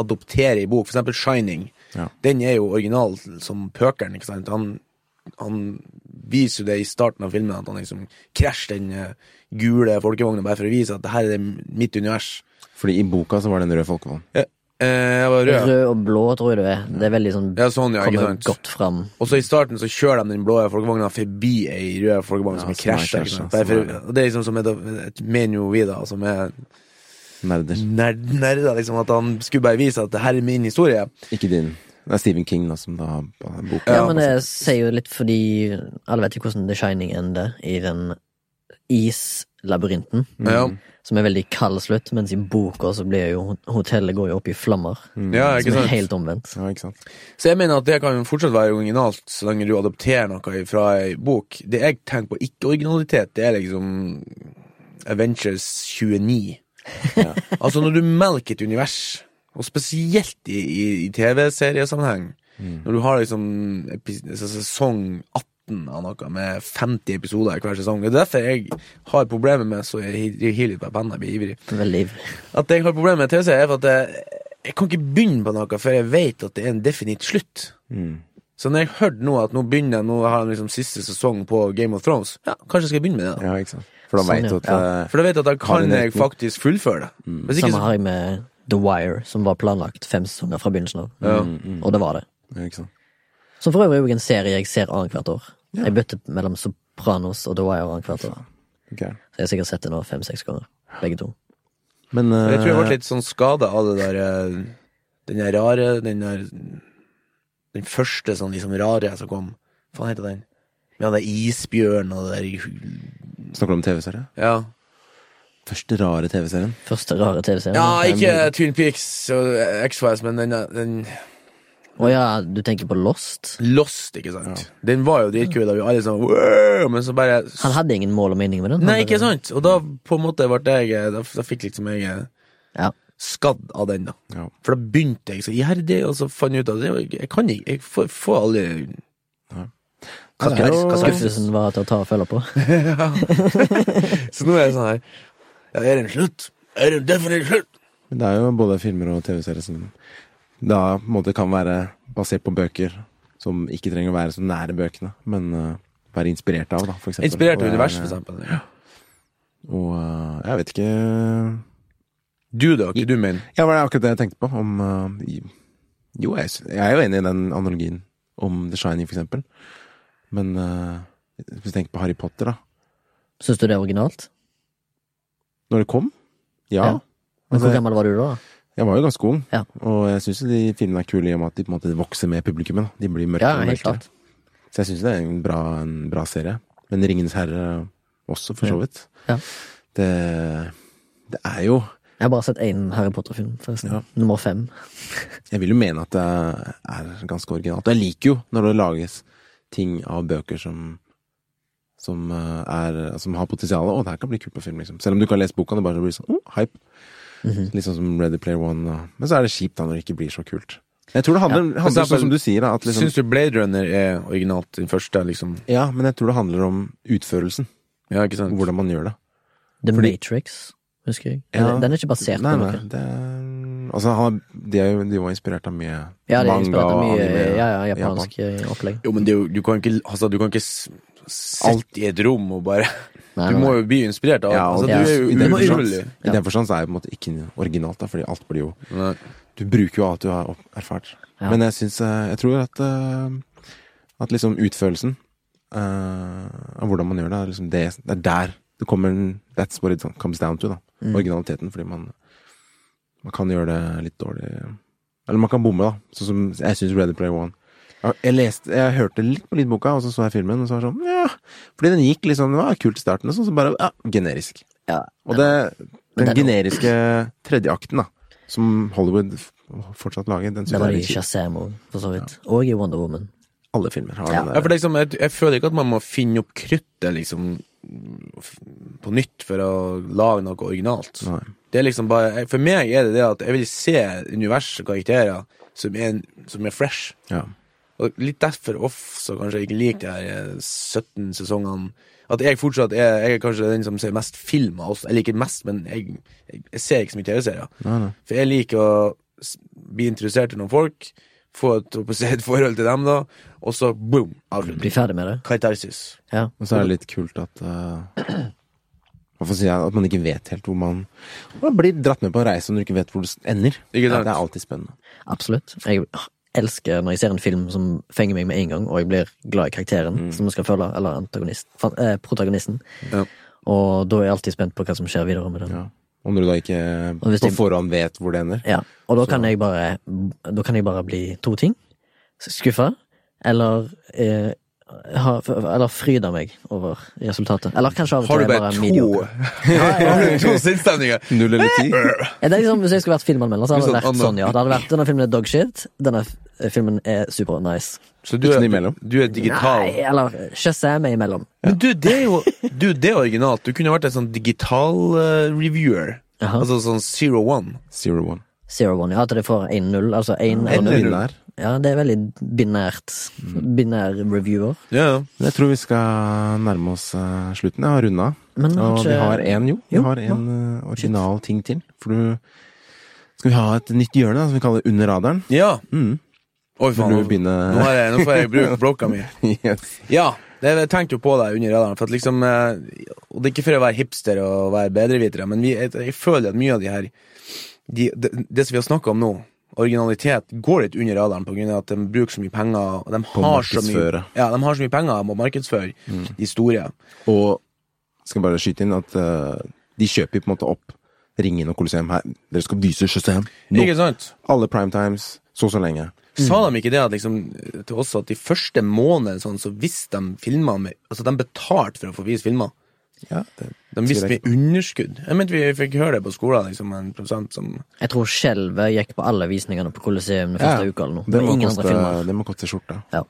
adoptere i bok, for eksempel Shining. Ja. Den er jo original som pøkeren, ikke sant? Han, han viser jo det i starten av filmen, at han liksom krasjer den eh, gule folkevogna bare for å vise at det her er mitt univers. Fordi i boka så var det en rød folkevogn. Eh, eh, jeg var rød. Rød og blå, tror jeg du er. Det er veldig sånn Ja, sånn, ja, ikke Kommer sant? godt fram. Og så i starten så kjører de den blå folkevogna forbi ei rød folkevogn Ja, som som er er krasja. krasjet, ikke sant? som Bare er- for- Og det er liksom som et, et menu vi, da, som er Nerder. Mm. nerd, nerder, liksom. At han skulle bare vise at det her er min historie. Ikke din. Det er Stephen King da, som da har boka. Ja, altså, men det sier jo litt fordi alle vet jo hvordan The Shining ender i den islabyrinten, Ja, som er veldig kald slutt, mens i boka så blir jo hotellet går jo opp i flammer. Mm. ja ikke Som er sant? helt omvendt. Ja, ikke sant? Så jeg mener at det kan jo fortsatt være originalt, så lenge du adopterer noe fra ei bok. Det jeg tenker på ikke-originalitet, det er liksom Avengers 29. altså, når du melker et univers, og spesielt i, i, i TV-seriesammenheng, når du har liksom epi- altså, sesong 18 av noe med 50 episoder i hver sesong Det er derfor jeg har problemer med Så jeg hi- hiver litt på pennen, jeg blir ivrig. Veldig ivrig. At jeg har problemer med TV-serier, er for at jeg, jeg kan ikke begynne på noe før jeg vet at det er en definitt slutt. Så når jeg hørte nå at nå begynner jeg, nå har jeg liksom siste sesong på Game of Thrones, ja, kanskje jeg skal begynne med det. da. Ja, ikke sant? For da Sånn, vet ja. du at eh, For da vet jeg at da Har du kan en jeg retning? faktisk fullføre det. Hvis ikke Samme så har jeg med The Wire, som var planlagt fem sesonger fra begynnelsen av. Mm. Mm. Og det var det. ja, ikke sant? Som for øvrig er jo en serie jeg ser annethvert år. Jeg bytter mellom Sopranos og The Wire annethvert år. Ok. Så jeg har sikkert sett det nå fem-seks ganger, begge to. Men eh, Jeg tror jeg ble litt sånn skada av det der eh, Den der rare Den der Den første sånn liksom rare som kom. Hva faen heter den? Med han der isbjørnen og det der Snakker du om TV-serie? Ja. Første rare TV-serien. Første rare TV-serien. Ja, ikke Twin Peaks og X-Files, men den, den Å ja, du tenker på Lost? Lost, ikke sant? Den var jo dritkul, da vi alle sånn wow, Men så bare Han hadde ingen mål og mening med den. Han Nei, bare- ikke sant? Og da på en måte ble jeg Da, da fikk liksom jeg eh, Ja. skadd av den, da. Ja. For da begynte jeg så iherdig, og så fant jeg ut at det, var- jeg kan ikke Jeg får, får aldri Ja, det er jo- Hva skal jeg- Skuffelsen var til å ta og følge på. Så nå er jeg sånn her Ja, er det en slutt? Er det en definitivt slutt? Men det er jo både filmer og TV-serier som da på en måte kan være basert på bøker som ikke trenger å være så nære bøkene, men eh, være inspirert av, da, for eksempel. Inspirert Og av det er, universet, for eksempel. Og eh, jeg vet ikke Du, da? Hva du mener Ja, det var akkurat det jeg tenkte på, om eh, i- Jo, jeg, sy- jeg er jo enig i den analogien om The Shining, for eksempel. Men eh, hvis du tenker på Harry Potter, da. Syns du det er originalt? Når det kom? Ja. Ja. Men Altså, hvor gammel var du da? Jeg var jo ganske ung, Ja. og jeg syns de filmene er kule i og med at de på en måte vokser med publikummet. da. De blir mørkere Ja, og helt mørkere. klart. Så jeg syns det er en bra, en bra serie. Men Ringenes herre også, for så vidt. Ja. Det, det er jo Jeg har bare sett én Harry Potter-film, forresten. Ja. Nummer fem. Jeg vil jo mene at det er ganske originalt. Og jeg liker jo når det lages ting av bøker som som, eh, er, som har potensial. Å, det her kan bli kult på film, liksom. Selv om du ikke har lest boka, det bare blir sånn oh, hype. Mhm. Litt sånn som Ready Player One. Og, men så er det kjipt da når det ikke blir så kult. Jeg tror det handler, For handler eksempel- sånn som du sier, da, at liksom Syns du Blade Runner er originalt, den første, liksom? Ja, men jeg tror det handler om utførelsen. Ja, ikke sant? Hvordan man gjør det. The Fordi- Matrix, husker jeg. Ja. Den- Den er ikke basert Nei, på nei, noe. det er, altså, han, er- de, er jo, de var inspirert av mye Ja, det er manga inspirert av og mye anime. og ja, ja, Japan. japansk eh, opplegg. Jo, men det er jo, du kan ikke, altså, du kan ikke s- sitte i et rom og bare Nei, Du nei, må nei. jo bli inspirert av Ja, altså, og Du det- er jo i den må forstand- uskyldig. I den forstand så er det på en måte ikke originalt, da, fordi alt blir jo Nei. Du bruker jo alt du har opp- erfart. Ja. Men jeg syns eh, Jeg tror at eh, At liksom utførelsen eh, av hvordan man gjør det, er liksom det, det er der det kommer en- That's what it comes down to, da. Mm. Originaliteten, fordi man Man kan gjøre det litt dårlig Eller man kan bomme, da. Sånn som jeg syns Ready Player One jeg, jeg leste, jeg hørte litt på lydboka, og så så jeg filmen, og så var det sånn Ja! Fordi den gikk liksom Det var kult i starten, og så, så bare ja, Generisk. Ja. Og det, den den- generiske tredjeakten, da, som Hollywood f- fortsatt lager, den Det synes var jeg i er kjip. Shazam òg, for så vidt. Og i Wonder Woman. Alle filmer har Ja. den Ja, for der. liksom, jeg, jeg føler ikke at man må finne opp kruttet liksom f- på nytt for å lage noe originalt. Nei. Det er liksom bare, jeg- For meg er det det at jeg vil se univers og karakterer som er, som er fresh. Ja. Og litt derfor off, så kanskje jeg ikke liker de her eh, 17 sesongene. At jeg fortsatt er jeg er kanskje den som ser mest film av oss. Jeg liker mest, men jeg, jeg, jeg ser ikke så mye TV-serier. Nei, nei. For jeg liker å s- bli interessert i noen folk, få et, holdt på å si, et forhold til dem, da, og så boom! Avslutning. Bli ferdig med det. Katarsis. Ja. Og så er det litt kult at eh, Hvorfor sier jeg at man ikke vet helt hvor man Man blir dratt med på en reise når du ikke vet hvor det s- ender. Ikke sant? Ja, det er alltid spennende. Absolutt. Jeg elsker når jeg ser en film som fenger meg med en gang, og jeg blir glad i karakteren som jeg skal følge, eller antagonist, fan- eh, protagonisten. Mm. Ja. Og da er jeg alltid spent på hva som skjer videre med den. Ja. Ja. Om du da ikke Og hvis på de- forhånd vet hvor det ender. Og da kan, jeg bare, da kan jeg bare bli to ting. Skuffa, eller eh, ha, Eller fryde meg over resultatet. Eller kanskje av og Har du til bare bare to mediocre. Ja, ja, ja. To sinnsstemninger? Null eller ti. Ja, det er liksom, hvis jeg skulle vært filmanmelder, så hadde det Litt sånn vært sånn, ja. Det hadde vært, Denne filmen er dogshit. Denne f- filmen er super nice. Så du Ikke noe er, imellom. du er digital. Nei, eller Shazam er imellom. Men du, det er jo du, det er originalt. Du kunne vært en sånn digital eh, reviewer. Jaha. Altså sånn zero one. Zero one. Zero One, ja. At det får 1-0. Altså 1 eller En 0. null. Binær. Ja, det er veldig binært. Binær reviewer. Ja, ja. Men jeg tror vi skal nærme oss eh, slutten. Jeg har runda. Men Og kanskje vi har en, jo. Vi Jo, har en eh, original ting til. For du Skal vi ha et nytt hjørne da, som vi kaller Under radaren? ja. Mm. Oi, faen. Vil du Nå, begynne? nå, har jeg, nå får jeg bruke blokka mi. yes. Ja, det, jeg tenkte jo på deg under radaren. For at liksom, eh, og det er ikke for å være hipster og være bedrevitere, men vi, jeg, jeg føler at mye av de her de, det, det som vi har snakka om nå, originalitet, går litt under radaren pga. at de bruker så mye penger. Og de På har så mye, markedsføre. Mm. ja, de har så mye penger om å markedsføre de store. Og skal bare skyte inn at eh, de kjøper på en måte opp Ringen og Colosseum her. Dere skal vise Shazam nå. Mm. Ikke sant? Alle prime times, så så lenge. Sa de ikke det at liksom, til oss at de første månedene sånn, så visste de filmer med, Altså, de betalte for å få vise filmer. Ja, det De Sier visste jeg med underskudd. Jeg mente vi fikk høre det på skolen, liksom, en produsent som Jeg tror skjelvet gikk på alle visningene på Colosseum den Ja, første uka eller noe. det Med må ingen koste, andre filmer. det må koste skjorta. Ja.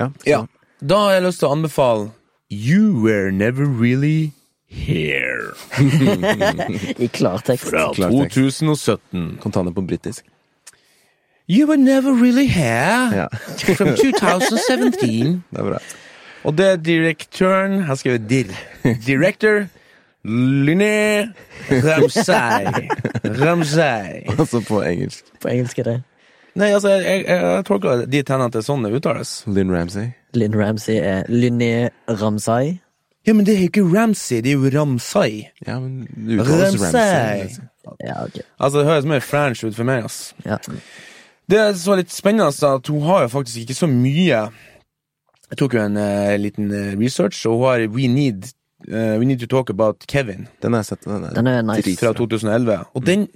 Ja. Ja. Da har jeg lyst til å anbefale You Were Never Really Here I klartekst. fra Klar tekst. 2017. Kontane på britisk. You Were Never Really Here Ja, from 2017. det er bra. Og det er direktøren Jeg skriver dir. Director Linné Ramsay. Ramsay. Altså på engelsk. På engelsk er det Nei, altså, jeg, jeg, jeg tolker det dit hen at det er sånn det uttales. Lynn Ramsey. Lynn Ramsey er Lynné Ramsay. Ja, men det er jo ikke Ramsay, det er jo Ramsay. Ja, men du uttaler også Ramsey. Ramsey. Ja, ok. Altså, det høres mer French ut for meg, ass. Ja. Det som var litt spennende, er at hun har jo faktisk ikke så mye Jeg tok jo en eh, liten eh, research, og hun har We Need eh, We Need To Talk About Kevin Den har jeg sett. Den er, Den er nice. dritbra. fra 2011. Og den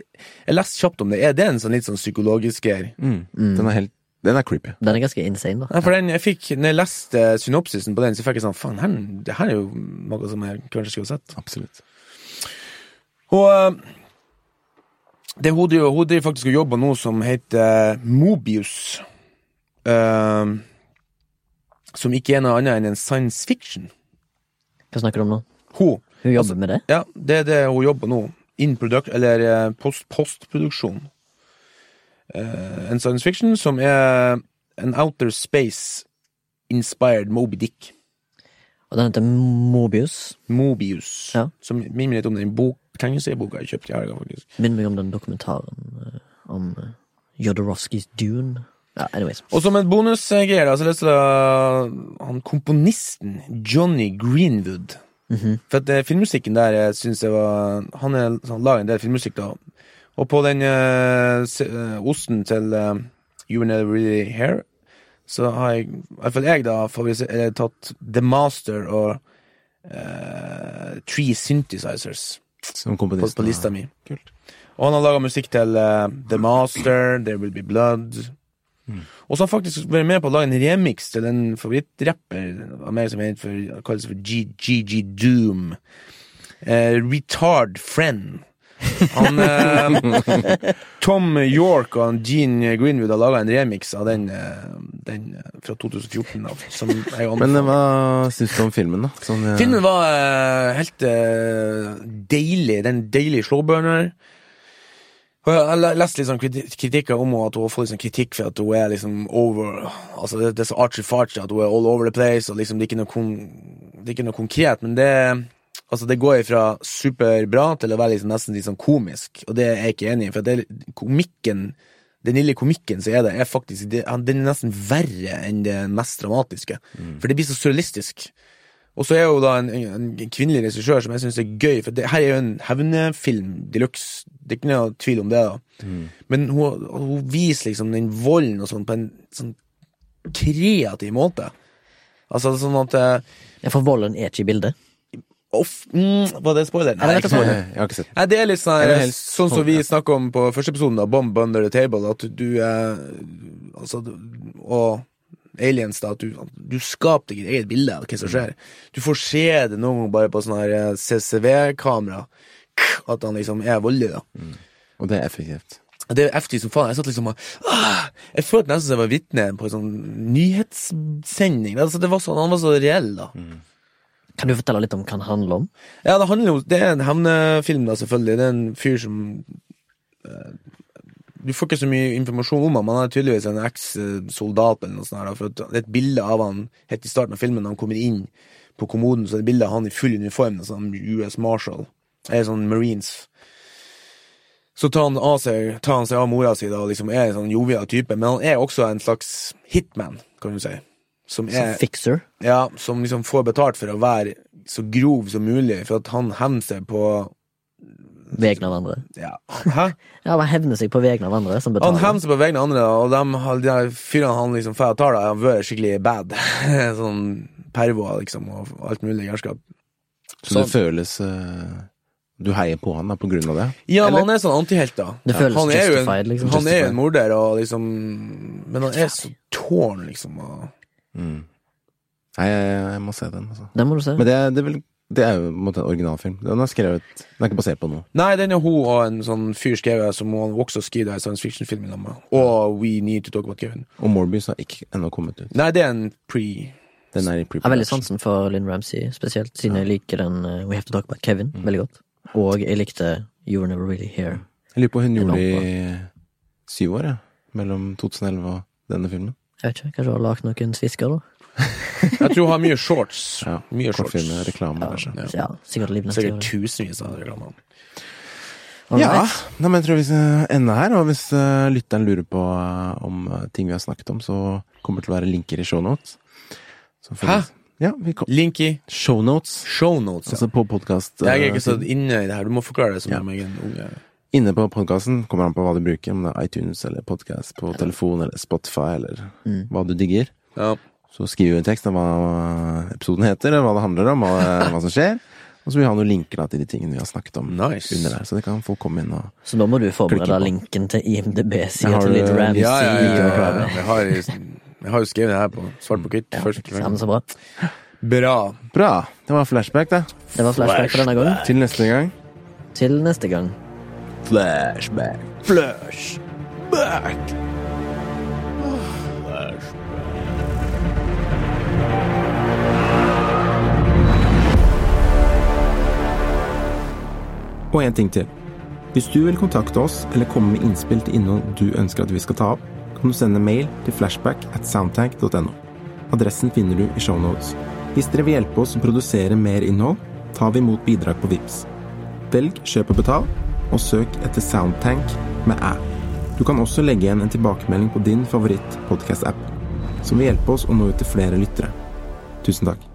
Jeg leste kjapt om det. Er det en sånn litt sånn psykologisk greie? Mm. Den er helt Den er creepy. Den er ganske insane, da. Nei, for den, jeg fikk, når jeg leste synopsisen på den, så fikk jeg sånn Faen, her, det her er jo noe som jeg kanskje skulle ha sett. Absolutt. Og eh, det hun driver, hun driver faktisk og jobber nå som heter Mobius. Eh, som ikke er noe annet enn en science fiction. Hva snakker du om nå? Hun, Hun jobber med det? ja, det er det hun jobber nå. In product, eller eh, post, postproduksjon. Eh, en science fiction som er en outer space inspired Moby Dick. Og den heter Mobius. Mobius. Ja. Som minner meg litt om den bok, tegneserieboka jeg kjøpte i helga, faktisk. Minn meg om den dokumentaren eh, om eh, Jodorowskys Dune. Ja, anyways. Og som en bonusgreie, da, så leste jeg han komponisten Johnny Greenwood. For at eh, filmmusikken der, jeg synes jeg var Han, er, han lager en del filmmusikk, da. Og på den eh, se- eh, osten til eh, You Were Never Really Here, så har jeg, i hvert fall jeg, da, favorise- eller tatt The Master og eh, Tree Synthesizers Som på, komponisten. på lista mi. Kult. Og han har laga musikk til eh, The Master, There Will Be Blood. Og så har han faktisk vært med på å lage en remix til en favorittrapper av meg som heter for, han kalles for GGG Doom. Eh, retard Friend. Han, eh, Tom York og han Gene Greenwood har laga en remix av den, eh, den eh, fra 2014. Da, som jeg Men eh, anbefaler. hva syns du om filmen, da? Sånn, eh, Filmen var eh, helt eh, deilig. Den deilige slowburner. Og Jeg har lest litt sånn kriti- kritikker om henne, at hun har fått litt sånn kritikk for at hun er liksom over Altså Det, det er så archy-farchy at hun er all over the place, og liksom det er ikke noe, kon, det er ikke noe konkret. Men det Altså det går fra superbra til å være liksom nesten litt sånn komisk, og det er jeg ikke enig i. For det, er- komikken den lille komikken som er der, er faktisk det- han- Den er nesten verre enn det mest dramatiske. For det blir så surrealistisk. Og så er jo da en, en kvinnelig regissør som jeg syns er gøy, for det her er jo en hevnefilm de luxe. Det er ikke noe tvil om det, da. Men hun, hun viser liksom den volden og sånn på en sånn kreativ måte. Altså sånn at eh, Ja, for volden er ikke i bildet. off, mm, Var det spoiler? Nei, det er ikke spoiler. Jeg har ikke sett den. Nei, det er litt sånn, Eller helst sånn som vi sånn, ja. snakka om på første episoden av Bomb Under the Table, at du eh, Altså, du- og aliens, da, at du, du skaper ditt eget bilde av hva som skjer. Du får se det noen ganger bare på sånn her eh, CCV-kamera, at han liksom er voldelig, da. Og det er effektivt. Det er heftig som faen. Jeg satt liksom og ah, Jeg følte nesten som jeg var vitne på en sånn nyhetssending. Altså, det var sånn, han var så reell, da. Kan du fortelle litt om hva den handler om? Ja, det handler jo Det er en hemnefilm, da, selvfølgelig. Det er en fyr som eh, Du får ikke så mye informasjon om ham. Han er tydeligvis en eks-soldat eller noe sånt. her, da, For at det er et bilde av han helt i starten av filmen, da han kommer inn på kommoden, så er det bilde av han i full uniform, da, sånn US Marshal. Eller sånn Marines. Så tar han, av seg, tar han seg av mora si da, og liksom er en sånn jovial type, men han er også en slags hitman, kan du si. Som Som Eh, er fixer? ja, som liksom får betalt for å være så grov som mulig, for at han hevner seg på Vegne av andre? ja, Hæ? Ja, man hevner seg på vegne av andre som Han betaler. hevner seg på vegne av andre, og de, har- de her fyrene han liksom får tar, da, har vært skikkelig bad. sånn pervoer, liksom, og alt mulig gærskap. Så det føles eh, Du heier på han da, på grunn av det? Ja, men han er sånn antihelt, da. Det Ja. føles han er jo en, justified, liksom. Han er jo Justified. en morder, og liksom Men han er så tårn, liksom. Og, Mm. Nei, jeg, jeg må se den, altså. Den må du se. Men det, er- det, er vel, det er jo på en måte en originalfilm. Den er skrevet Den er ikke basert på noe. Nei, den er hun og en sånn fyr skrevet som hun også skriver i science fiction-film i lag med. Og We Need To Talk About Kevin. Og Morbius har ikke ennå kommet ut. Nei, det er en pre... Den er i Jeg har veldig pre-production. sånn- sansen for Lynn Ramsey, spesielt siden jeg liker den eh, We Have To Talk About Kevin Mm. veldig godt. Og jeg likte You Were Never Really Here. Jeg lurer på hun gjorde Det det er i syv år, jeg. Mellom 2011 og denne filmen. Jeg vet ikke, Kanskje hun har lagd noen svisker, da? Jeg tror hun har mye shorts. Ja, mye shorts. Kortfilmer, reklame, kanskje. Ja, sikkert liv neste Sikkert år. tusenvis av reklamer. All Ja, right. nei, men jeg tror vi skal ende her. Og hvis eh, lytteren lurer på eh, om eh, ting vi har snakket om, så kommer det til å være linker i shownotes. Så får Hæ? vi- Ja, vi kom. Link i Shownotes. shownotes. Ja. Altså på podkast. Jeg er ikke så inne i det her. Du må forklare det som Ja. om jeg er en unge. Inne på podkasten kommer an på hva du bruker, om det er iTunes eller podkast på telefon eller Spotify eller hva du digger. Ja. Så skriver vi en tekst om hva episoden heter, og hva det handler om, og eh, hva som skjer. Og så vil vi ha noen linker da, til de tingene vi har snakket om Nice. under der. Så det kan folk komme inn og Så da må du forberede Klikker på. linken til IMDb-sida Har til du- Litt Ja, Ramsey. Ja, ja, ja, ja, og- ja. Jeg, har, jeg har jo skrevet det her på svart på hvitt. først. Ja, men så bra. Bra. Bra! Det var flashback, det. Det var flashback for denne gangen. Til neste gang. Til neste gang. Flashback. Og en ting til. Hvis du vil kontakte oss eller komme med innspill til innhold du ønsker at vi skal ta opp, kan du sende mail til flashback at soundtank.no. Adressen finner du i shownotes. Hvis dere vil hjelpe oss å produsere mer innhold, tar vi imot bidrag på Vips. Velg kjøp og betal, og søk etter Soundtank med æ. Du kan også legge igjen en tilbakemelding på din favoritt podcast-app, som vil hjelpe oss å nå ut til flere lyttere. Tusen takk.